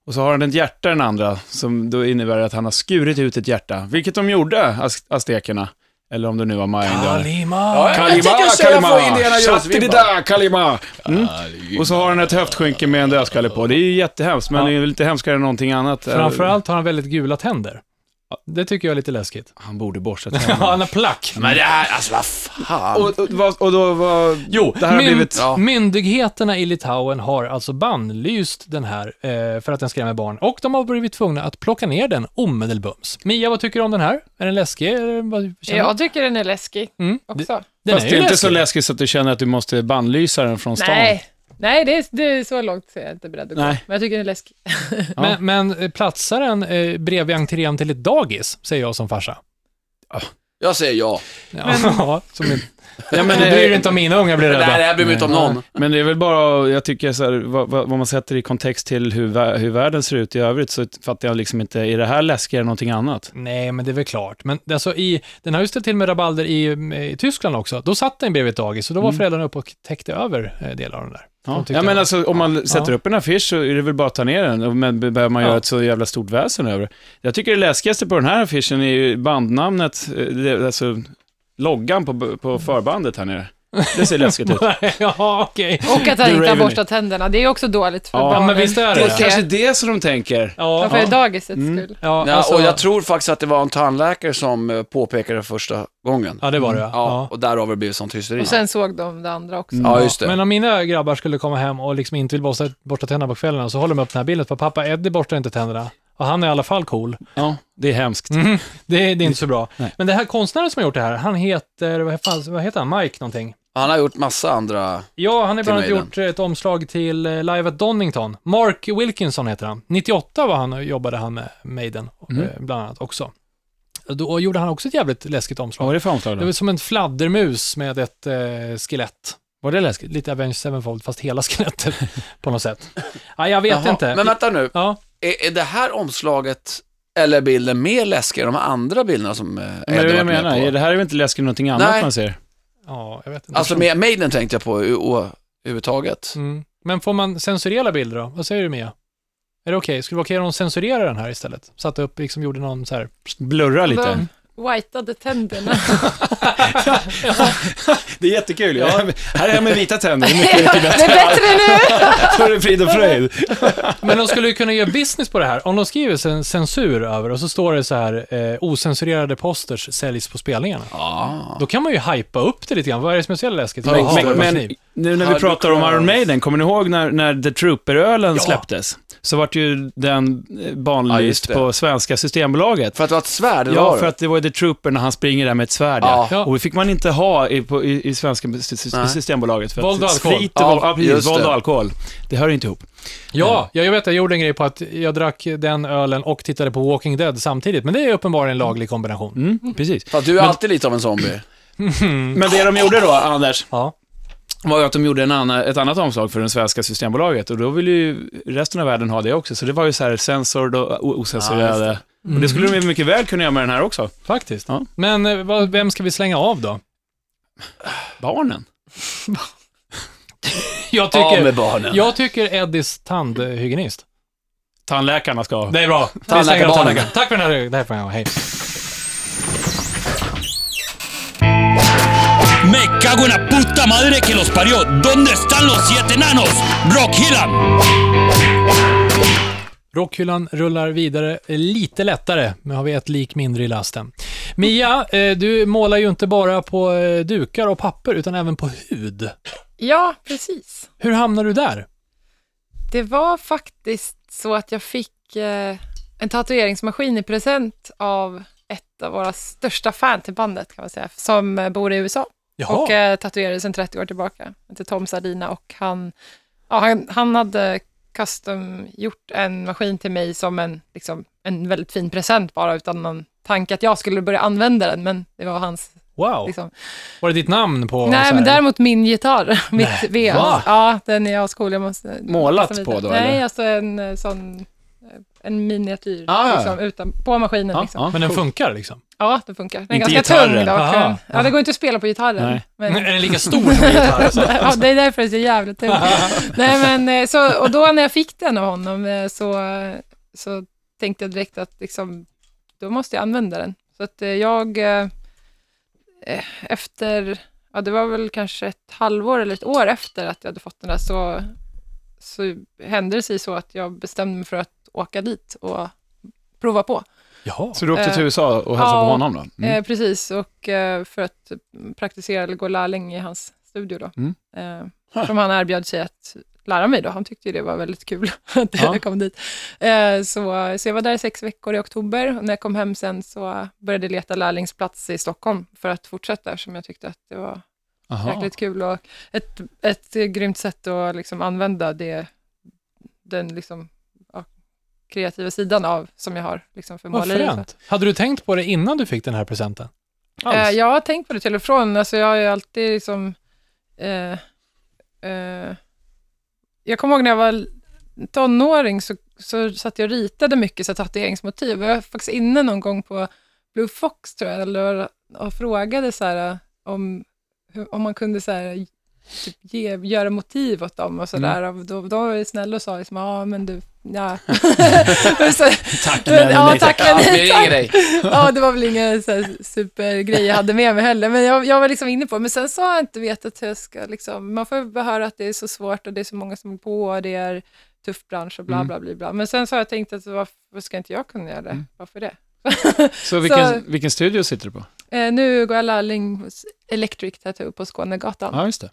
Speaker 4: Och så har han ett hjärta i den andra som då innebär att han har skurit ut ett hjärta, vilket de gjorde, az- aztekerna. Eller om det nu var Maja Indianer.
Speaker 2: Kalima!
Speaker 3: jag tänker köra på Indiana Jones-vibbar.
Speaker 4: där, Kalima! Mm. Och så har han ett höftskynke med en dödskalle på. Det är ju jättehemskt, men
Speaker 2: Ja.
Speaker 4: det är ju lite hemskare än någonting annat.
Speaker 2: Framförallt har han väldigt gula tänder. Det tycker jag är lite läskigt.
Speaker 4: Han borde borstat
Speaker 2: (laughs) Ja, han har plack.
Speaker 3: Men det här, alltså vad fan.
Speaker 4: och, och, vad- och då var...
Speaker 2: Jo,
Speaker 4: Det här har
Speaker 2: myn-
Speaker 4: blivit-
Speaker 3: Ja.
Speaker 2: myndigheterna i Litauen har alltså bannlyst den här eh, för att den skrämmer barn och de har blivit tvungna att plocka ner den omedelbums. Mia, vad tycker du om den här? Är den läskig? Eller vad känner du?
Speaker 5: Jag tycker den är läskig
Speaker 2: Mm.
Speaker 5: också.
Speaker 2: Den
Speaker 4: Fast
Speaker 2: är
Speaker 4: det
Speaker 2: ju
Speaker 4: är inte
Speaker 2: läskig.
Speaker 4: så läskigt så att du känner att du måste bannlysa den från stan.
Speaker 5: Nej, Nej det, är, det är så långt så är jag inte beredd att gå.
Speaker 4: Nej.
Speaker 5: Men jag tycker den är läskig.
Speaker 4: Ja.
Speaker 2: Men, men eh, platsar den eh, bredvid entrén till ett dagis, säger jag som farsa.
Speaker 3: Jag säger ja.
Speaker 2: Ja, (laughs) ja, som min...
Speaker 4: Ja, men,
Speaker 2: Då
Speaker 4: eh,
Speaker 2: bryr du inte om mina ungar blir
Speaker 3: Det här, det
Speaker 2: rädda.
Speaker 3: här bryr mig inte om
Speaker 4: Nej.
Speaker 3: någon.
Speaker 4: Men det är väl bara, jag tycker så här, vad, vad vad man sätter i kontext till hur, vä- hur världen ser ut i övrigt, så fattar jag liksom inte, är det här läskigare än någonting annat?
Speaker 2: Nej, men det är väl klart. Men alltså i, den har ju ställt till med rabalder i, mm, i Tyskland också. Då satt den bredvid ett dagis och då var föräldrarna uppe och täckte över eh, delar av den där. De
Speaker 4: Mm. Ja.
Speaker 2: tyckte
Speaker 4: ja, men
Speaker 2: att-
Speaker 4: alltså om man sätter upp en affisch så är det väl bara att ta ner den, men be- behöver man
Speaker 2: Ja.
Speaker 4: göra ett så jävla stort väsen över det. Jag tycker det läskigaste på den här affischen är ju bandnamnet, eh, det, alltså loggan på, på förbandet här nere. Det ser läskigt ut.
Speaker 2: (laughs) ja, okej.
Speaker 5: Och att han
Speaker 4: Du
Speaker 5: inte har
Speaker 4: Raven.
Speaker 5: borstat tänderna, det är också dåligt för
Speaker 4: Ja,
Speaker 5: barnen.
Speaker 2: men visst är det.
Speaker 5: Att
Speaker 4: Det
Speaker 5: se.
Speaker 4: kanske är det som de tänker.
Speaker 5: Ja,
Speaker 2: Ja,
Speaker 5: för dagisets skull.
Speaker 2: ja,
Speaker 3: Ja,
Speaker 2: alltså,
Speaker 3: och jag tror faktiskt att det var en tandläkare som eh, påpekade det första gången. Ja,
Speaker 2: ja, det var det ja. ja.
Speaker 3: och där har det blivit sånt hysteri.
Speaker 5: Och sen såg de det andra också.
Speaker 3: Ja, just det.
Speaker 2: Men om mina grabbar skulle komma hem och liksom inte vill borsta, borsta tänderna på kvällarna så håller de upp den här bilden på pappa Eddie borstar inte tänderna. Och han är i alla fall cool.
Speaker 4: Ja, det är hemskt.
Speaker 2: Mm. Det, det är inte så bra.
Speaker 4: Nej.
Speaker 2: Men det här konstnären som har gjort det här, han heter, vad, fan, vad heter han, Mike någonting?
Speaker 3: Han har gjort massa andra...
Speaker 2: Ja, han har bland annat
Speaker 3: Till mig
Speaker 2: gjort ett omslag till eh, Live at Donington. Mark Wilkinson heter han. 98 var han och jobbade han med Maiden,
Speaker 3: Mm.
Speaker 2: eh, bland annat också. Och Då gjorde han också ett jävligt läskigt
Speaker 4: Vad
Speaker 2: omslag.
Speaker 4: var det för omslag
Speaker 2: Det var
Speaker 4: då?
Speaker 2: som en fladdermus med ett eh, skelett.
Speaker 4: Var det läskigt?
Speaker 2: Lite Avenged Sevenfold, fast hela (laughs) skelettet på något sätt. Ja, jag vet
Speaker 3: Jaha,
Speaker 2: inte.
Speaker 3: Men vänta nu,
Speaker 2: ja.
Speaker 3: är, är det här omslaget eller bilden mer läskig än de andra bilderna som eh,
Speaker 4: Men det är
Speaker 3: Eddie
Speaker 4: det
Speaker 3: varit
Speaker 4: jag
Speaker 3: med
Speaker 4: menar,
Speaker 3: på?
Speaker 4: är det här är väl inte läskigt än någonting annat
Speaker 3: Nej.
Speaker 4: man ser?
Speaker 2: ja, jag vet inte.
Speaker 3: Alltså med Maiden tänkte jag på ö- ö- överhuvudtaget.
Speaker 2: mm. Men får man censurera bilder då? Vad säger du Mia? Är det okej? Skulle det vara okej om de censurerar den här istället? Satte upp, liksom gjorde någon så här...
Speaker 4: Blurra lite.
Speaker 5: De whiteade tänderna.
Speaker 4: Det är jättekul. Ja. (laughs) här är jag med vita (laughs) tänder,
Speaker 5: det är bättre nu!
Speaker 4: så är det frid och fröjd.
Speaker 2: Men de skulle ju kunna göra business på det här. Om de skriver cen- censur över och så står det så här, eh, ocensurerade posters säljs på spelningarna.
Speaker 3: Ja.
Speaker 2: Då kan man ju hypa upp det lite grann. Vad är det som är så jävla läskigt?
Speaker 3: Men-
Speaker 2: Jaha, det var
Speaker 4: Men, men
Speaker 2: kniv.
Speaker 4: nu när vi
Speaker 3: Hard
Speaker 4: pratar om
Speaker 3: Rock
Speaker 4: Iron Maiden, kommer ni ihåg när, när The Trooper-ölen
Speaker 2: Ja.
Speaker 4: släpptes? Så vart ju den eh,
Speaker 3: Ja,
Speaker 4: banlyst
Speaker 3: just det.
Speaker 4: på svenska Systembolaget.
Speaker 3: För att det var ett svärd, eller
Speaker 4: Ja,
Speaker 3: var det?
Speaker 4: för att det var ju The Trooper när han springer där med ett svärd.
Speaker 3: Ja.
Speaker 2: Ja.
Speaker 4: Och det fick man inte ha i, på, i, i svenska sy- sy-
Speaker 3: Nej.
Speaker 4: Systembolaget. För
Speaker 2: Våld och
Speaker 4: att
Speaker 2: alkohol.
Speaker 4: Sprit och,
Speaker 3: Ja,
Speaker 4: ja, precis,
Speaker 3: just
Speaker 4: våld
Speaker 3: det.
Speaker 4: och alkohol. Det hör ju inte ihop.
Speaker 2: ja, jag vet, jag gjorde en grej på att jag drack den ölen och tittade på Walking Dead samtidigt. Men det är uppenbarligen en laglig kombination.
Speaker 4: Mm, precis.
Speaker 3: För att du är alltid lite av en zombie.
Speaker 4: Men det de gjorde då, Anders,
Speaker 2: Ja.
Speaker 4: var ju att de gjorde en annan, ett annat omslag för det svenska Systembolaget och då ville ju resten av världen ha det också. Så det var ju så här censored och o-
Speaker 3: Ja,
Speaker 4: ocensurerade. Och det
Speaker 2: Mm.
Speaker 4: skulle de ju mycket väl kunna göra med den här också.
Speaker 2: Faktiskt.
Speaker 4: Ja.
Speaker 2: Men eh, vad, vem ska vi slänga av då?
Speaker 4: Barnen.
Speaker 2: Jag
Speaker 3: Ja,
Speaker 2: tycker,
Speaker 3: med barnen.
Speaker 2: jag tycker Eddies tandhygienist.
Speaker 4: Tandläkarna ska ha.
Speaker 2: Det är bra. Vi slänger av
Speaker 3: Tandläkarbarnen.
Speaker 2: tandläkaren. Tack för den här, det här programmet. Hej.
Speaker 1: Me cago en la puta madre que los parió. ¿Dónde están los siete enanos? Rock Hillan.
Speaker 2: Rockhyllan rullar vidare eh, lite lättare, men har vi ett lik mindre i lasten. Mia, eh, du målar ju inte bara på eh, dukar och papper, utan även på hud.
Speaker 5: Ja, precis.
Speaker 2: Hur hamnar du där?
Speaker 5: Det var faktiskt så att jag fick eh, en tatueringsmaskin i present av ett av våra största fan till bandet, kan man säga, som eh, bor i USA och eh, tatuerade sedan 30 år tillbaka. Han heter Tom Sardina och han, ja, han, han hade custom gjort en maskin till mig som en, liksom, en väldigt fin present bara, utan någon tanke att jag skulle börja använda den, men det var hans
Speaker 2: wow.
Speaker 5: liksom,
Speaker 2: Var det ditt namn på... så
Speaker 5: Nej,
Speaker 2: här-
Speaker 5: men däremot min gitarr, (laughs) mitt V.
Speaker 2: va?
Speaker 5: Ja, den är ascool. Jag måste...
Speaker 4: Målat
Speaker 5: passa
Speaker 4: på
Speaker 5: vidare.
Speaker 4: då,
Speaker 5: Nej,
Speaker 4: eller?
Speaker 5: alltså en eh, sån... eh, En miniatyr,
Speaker 4: Ah, ja.
Speaker 5: liksom, utan, på maskinen.
Speaker 4: Ja,
Speaker 5: liksom.
Speaker 4: ja.
Speaker 2: Men den funkar liksom?
Speaker 5: ja, det funkar. Den är
Speaker 4: Inte
Speaker 5: ganska
Speaker 4: gitarren.
Speaker 5: tung. Dock.
Speaker 2: Aha.
Speaker 5: Ja, det går inte att spela på gitarren.
Speaker 4: Nej.
Speaker 5: Men,
Speaker 2: Är den lika stor som en gitarr? alltså?
Speaker 5: (laughs) ja, det är därför det är så jävligt tung. Nej, men, eh, så, och då när jag fick den av honom eh, så, så tänkte jag direkt att liksom, då måste jag använda den. Så att eh, jag eh, eh, efter, ja det var väl kanske ett halvår eller ett år efter att jag hade fått den där, så, så hände det sig så att jag bestämde mig för att åka dit och prova på.
Speaker 2: (laughs) Jaha.
Speaker 4: Så du åkte till
Speaker 5: Eh,
Speaker 4: USA och hälsade på
Speaker 5: ja.
Speaker 4: honom då? Mm.
Speaker 5: Eh, precis, och eh, för att praktisera eller gå lärling i hans studio då.
Speaker 4: Mm.
Speaker 5: Eh, som han erbjöd sig att lära mig då. Han tyckte ju det var väldigt kul (laughs) att
Speaker 2: Ja.
Speaker 5: jag kom dit. Eh, så, så jag var där i sex veckor i oktober och när jag kom hem sen så började jag leta lärlingsplats i Stockholm för att fortsätta som jag tyckte att det var
Speaker 4: Aha.
Speaker 5: jäkligt kul och ett, ett grymt sätt att liksom använda det, den liksom, ja, kreativa sidan av som jag har liksom för
Speaker 2: Vad
Speaker 5: måleri. och så.
Speaker 2: fränt. Hade du tänkt på det innan du fick den här presenten? Alls?
Speaker 5: Eh, jag har tänkt på det till och från. Alltså, jag har ju alltid liksom... Eh, eh, jag kommer ihåg när jag var tonåring så, så satt jag och ritade mycket så här tatueringsmotiv. Och Jag var faktiskt inne någon gång på Blue Fox, tror jag, eller, och frågade så här, eh, om, hur- om man kunde så här, typ ge, göra motiv åt dem och sådär. Mm. Då, då var jag snäll och sa liksom, ja men du, ja. (laughs) så,
Speaker 1: Tack,
Speaker 5: men, ja, tack, men
Speaker 3: Ja, vi
Speaker 5: nej, (laughs) tack.
Speaker 4: (laughs)
Speaker 3: ringer dig.
Speaker 5: Ja, det var väl ingen så här supergrej jag hade med mig heller, men jag, jag var liksom inne på det. Men sen så har jag inte vetat hur jag ska, liksom, man får ju höra att det är så svårt och det är så många som är på och det är tuff bransch och bla
Speaker 2: Mm.
Speaker 5: bla bla. bla. Men sen så har jag tänkt att varför ska inte jag kunna göra det? Varför det?
Speaker 4: Så vilken,
Speaker 5: Så-
Speaker 4: vilken studio sitter du på?
Speaker 5: Eh, nu går jag lärling hos Electric Tattoo på Skånegatan.
Speaker 2: Ah,
Speaker 4: Ja, just det.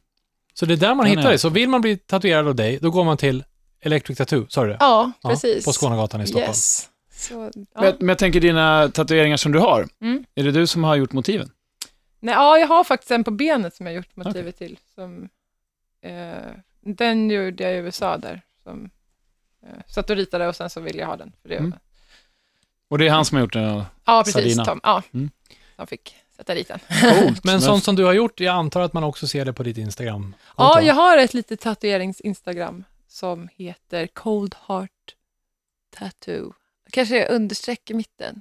Speaker 2: Så det är där man
Speaker 4: Ja,
Speaker 2: hittar
Speaker 4: nej.
Speaker 2: det. Så vill man bli tatuerad av dig, då går man till Electric Tattoo, sa du det?
Speaker 5: Ja, precis.
Speaker 2: På Skånegatan i Stockholm.
Speaker 5: Yes. Så, ja.
Speaker 4: Men, jag- men jag tänker dina tatueringar som du har,
Speaker 5: Mm.
Speaker 4: är det du som har gjort motiven?
Speaker 5: Nej, ja, jag har faktiskt en på benet som jag gjort motivet till. Som, eh, den gjorde jag i USA där. Som, eh, satt och ritade och sen så ville jag ha den. För det.
Speaker 4: Mm. Och det är han som har gjort
Speaker 5: (laughs)
Speaker 4: den?
Speaker 5: Ja, precis.
Speaker 4: Sardina.
Speaker 5: Tom, ja,
Speaker 4: Mm.
Speaker 5: Tom fick sätta dit den.
Speaker 4: Coolt.
Speaker 2: Men sånt som du har gjort, jag antar att man också ser det på ditt Instagram.
Speaker 5: Ja, jag har ett litet tatuerings-instagram som heter Cold Heart Tattoo. Kanske jag understräcker mitten.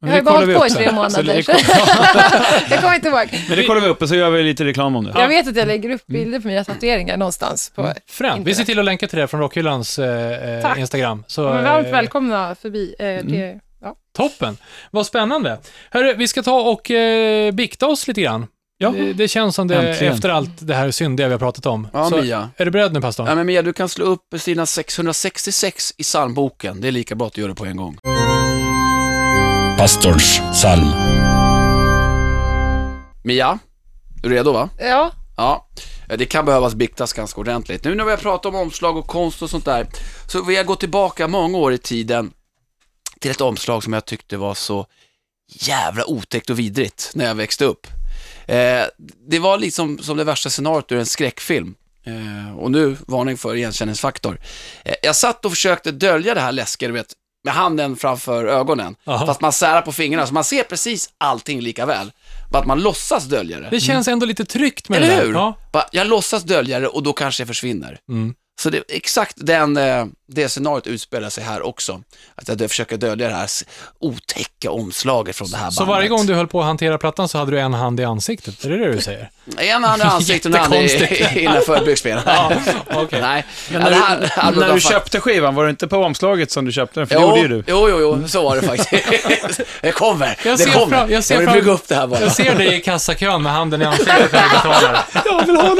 Speaker 4: Men
Speaker 5: jag har
Speaker 4: det
Speaker 5: ju bara
Speaker 4: kollar vi
Speaker 5: hållit på i
Speaker 4: upp sen.
Speaker 5: tre
Speaker 4: Så
Speaker 5: månader.
Speaker 4: det-
Speaker 5: Så (laughs) jag kommer inte ihåg.
Speaker 4: Men det Mm. kollar vi upp och så gör vi lite reklam om det.
Speaker 5: Jag vet att jag lägger upp bilder på mina tatueringar någonstans. På,
Speaker 2: Mm,
Speaker 4: Mm.
Speaker 2: Fränt. Vi ser till att länka till det från Rockhyllans eh, eh,
Speaker 5: Tack.
Speaker 2: Instagram. Så,
Speaker 5: Men varmt
Speaker 2: eh, Mm.
Speaker 5: välkomna förbi. Eh, till, ja.
Speaker 2: Toppen. Vad spännande. Hörru, vi ska ta och eh, bikta oss lite grann.
Speaker 4: Ja.
Speaker 2: Det, det känns som det,
Speaker 4: Äntligen.
Speaker 2: efter allt det här syndiga vi har pratat om.
Speaker 3: Ja,
Speaker 2: så,
Speaker 3: Mia.
Speaker 2: är du beredd nu, pastorn?
Speaker 3: Ja, men Mia, du kan slå upp sidan 666 i psalmboken. Det är lika bra att du gör det på en gång.
Speaker 1: Pastorns psalm.
Speaker 3: Mia, du är redo va?
Speaker 5: ja.
Speaker 3: Ja, det kan behövas biktas ganska ordentligt. Nu när vi har pratat om omslag och konst och sånt där, så vill jag gå tillbaka många år i tiden till ett omslag som jag tyckte var så jävla otäckt och vidrigt när jag växte upp. Eh, det var liksom som det värsta scenariot ur en skräckfilm. Eh, och nu, varning för igenkänningsfaktor. Eh, jag satt och försökte dölja det här läskiga, du vet, med handen framför ögonen.
Speaker 2: Jaha.
Speaker 3: Fast man särar på fingrarna, så man ser precis allting lika väl. Bara att man låtsas dölja det.
Speaker 2: Det känns ändå lite tryggt med det
Speaker 3: Eller
Speaker 2: där.
Speaker 3: hur?
Speaker 2: Ja.
Speaker 3: Bara, Jag låtsas dölja det och då kanske jag försvinner.
Speaker 2: Mm.
Speaker 3: Så det, exakt den, eh, det scenariot utspelar sig här också. Att jag dö- försöker dölja det här s- otäcka omslaget från det här
Speaker 2: Så
Speaker 3: bandet.
Speaker 2: varje gång du höll på att hantera plattan så hade du en hand i ansiktet? Är det det du säger?
Speaker 3: En hand i ansiktet och en hand i-
Speaker 2: Jättekonstigt.
Speaker 3: (laughs)
Speaker 2: (laughs)
Speaker 3: innanför byxbenen. ja,
Speaker 2: okej.
Speaker 3: Nej, ja,
Speaker 4: när
Speaker 3: det
Speaker 4: du,
Speaker 3: här- albumet
Speaker 4: när
Speaker 3: var
Speaker 4: du
Speaker 3: fan-
Speaker 4: köpte skivan, var det inte på omslaget som du köpte den? För det
Speaker 3: Jo,
Speaker 4: gjorde ju du.
Speaker 3: jo, jo, jo, så var det faktiskt. (laughs) det kommer,
Speaker 2: Jag
Speaker 3: det
Speaker 2: ser
Speaker 3: kommer.
Speaker 2: fram- jag ser
Speaker 3: vill
Speaker 2: fram-
Speaker 3: bygga upp det här
Speaker 2: (laughs)
Speaker 3: bara.
Speaker 2: Jag ser dig i kassakön med handen i ansiktet när du betalar.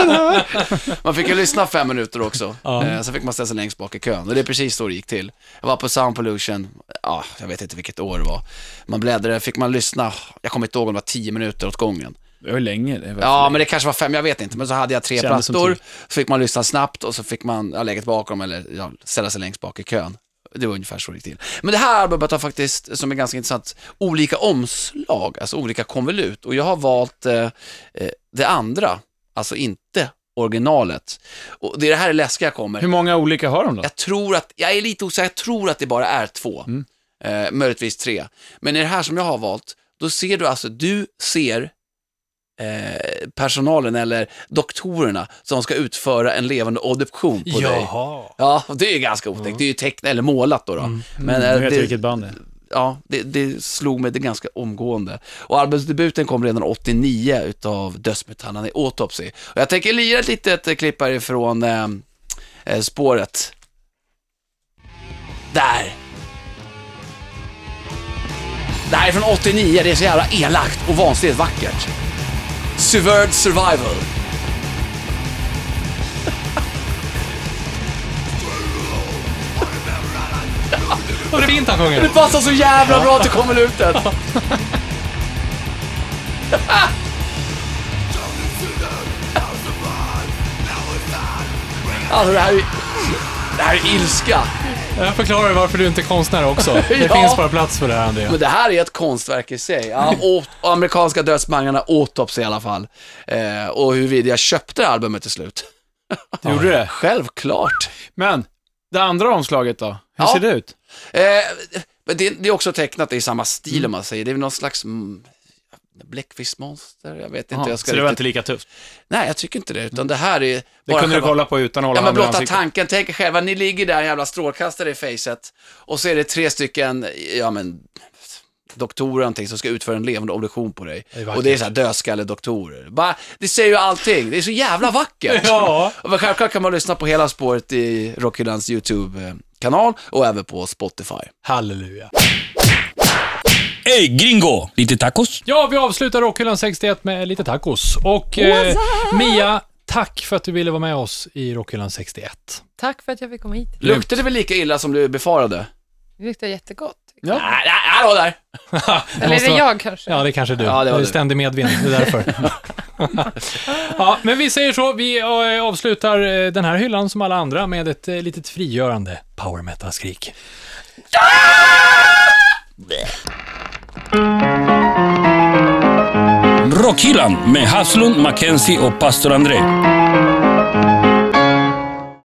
Speaker 3: Man fick ju lyssna fem minuter också.
Speaker 2: Ja.
Speaker 3: Eh, sen fick man ställa sig längst bak i kön. Och det är precis så det gick till. Jag var på Sound Pollution, ja, jag vet inte vilket år det var. Man bläddrade, fick man lyssna, jag kommer inte ihåg om det var tio minuter åt gången.
Speaker 4: Det var ju länge. Det var
Speaker 3: Ja, men det kanske var fem, jag vet inte. Men så hade jag tre
Speaker 4: Kändes som typ-
Speaker 3: plattor,
Speaker 4: tio.
Speaker 3: så fick man lyssna snabbt och så fick man ja, läget bakom eller ja, ställa sig längst bak i kön. Det var ungefär så det gick till. Men det här albumet har faktiskt, som är ganska intressant, olika omslag, alltså olika konvolut. Och jag har valt eh, eh, det andra, alltså inte originalet. Och det är det här det läskiga kommer.
Speaker 4: Hur många olika har de då?
Speaker 3: Jag tror att, jag är lite osäker, jag tror att det bara är två. Eh, möjligtvis tre. Men i det här som jag har valt, då ser du alltså, du ser eh, personalen eller doktorerna som ska utföra en levande obduktion på dig.
Speaker 2: Jaha.
Speaker 3: Ja, det är ju ganska otäckt. Det är ju tecknat, eller målat då. då. Men
Speaker 4: nu
Speaker 3: eh,
Speaker 4: vet Mm. jag
Speaker 3: det,
Speaker 4: vilket band det är.
Speaker 3: ja, det, det slog mig det ganska omgående. Och arbetsdebuten kom redan 89 utav dödsmetallen i Autopsy. Och jag tänker lira ett litet eh, klipp härifrån eh, eh, spåret. Där! Det här är från 89, det är så jävla elakt och vansinnigt vackert. Severed Survival.
Speaker 2: Och det är fint han
Speaker 3: Det
Speaker 2: sjunger.
Speaker 3: passar så jävla bra till konvolutet. (laughs) Alltså det här är Det här är ilska.
Speaker 2: Jag förklarar varför du inte är konstnär (laughs) också. Det
Speaker 3: Ja.
Speaker 2: finns bara plats för det här, Andrea.
Speaker 3: Men det här är ett konstverk i sig. Ja, och, och amerikanska dödsmangarna Autopsy i alla fall. Eh, och huruvida jag köpte det här albumet till slut.
Speaker 4: Du gjorde det.
Speaker 3: (laughs) Självklart.
Speaker 4: Men, det andra omslaget då? Hur
Speaker 3: Ja.
Speaker 4: ser det ut?
Speaker 3: Eh, men det, det är också tecknat i samma stil om man säger. Det är väl någon slags mm, bläckfiskmonster. Jag vet inte.
Speaker 4: Jaha,
Speaker 3: jag ska
Speaker 4: så det var
Speaker 3: riktigt-
Speaker 4: inte lika tufft?
Speaker 3: Nej, jag tycker inte det. Utan det här är...
Speaker 4: Mm. Det
Speaker 3: bara
Speaker 4: kunde
Speaker 3: själva-
Speaker 4: du kolla på utan att hålla
Speaker 3: Ja, men
Speaker 4: handen i
Speaker 3: blotta
Speaker 4: ansiktet?
Speaker 3: tanken. Tänk er själva, ni ligger där jävla strålkastare i facet och så är det tre stycken, ja men, doktorer eller någonting som ska utföra en levande obduktion på dig.
Speaker 2: är vackert.
Speaker 3: och det är så här dödskalle-doktorer. Bara, det säger ju allting, det är så
Speaker 4: (laughs)
Speaker 3: jävla vackert.
Speaker 2: Ja.
Speaker 3: Och men självklart kan man lyssna på hela spåret i Rockhyllans YouTube-kanal och även på Spotify.
Speaker 2: Halleluja.
Speaker 1: Ey, gringo! Lite tacos?
Speaker 2: Ja, vi avslutar Rockhyllan 61 med lite tacos. Och eh, Mia, tack för att du ville vara med oss i Rockhyllan 61.
Speaker 5: Tack för att jag fick komma hit.
Speaker 3: Luktar det väl lika illa som du befarade?
Speaker 5: Det luktar jättegott.
Speaker 3: Nej, nej, hallå där!
Speaker 5: Eller är
Speaker 2: måste
Speaker 5: det
Speaker 2: vara-
Speaker 5: jag kanske?
Speaker 2: Ja, det kanske är du.
Speaker 3: Ja, det
Speaker 2: det,
Speaker 3: var
Speaker 2: är
Speaker 3: du.
Speaker 2: ständig medvind, det är därför.
Speaker 3: (laughs)
Speaker 2: ja, men vi säger så, vi eh, avslutar eh, den här hyllan som alla andra med ett eh, litet frigörande power metal-skrik.
Speaker 1: Rockhyllan med Haslund, Mackenzie och pastor André.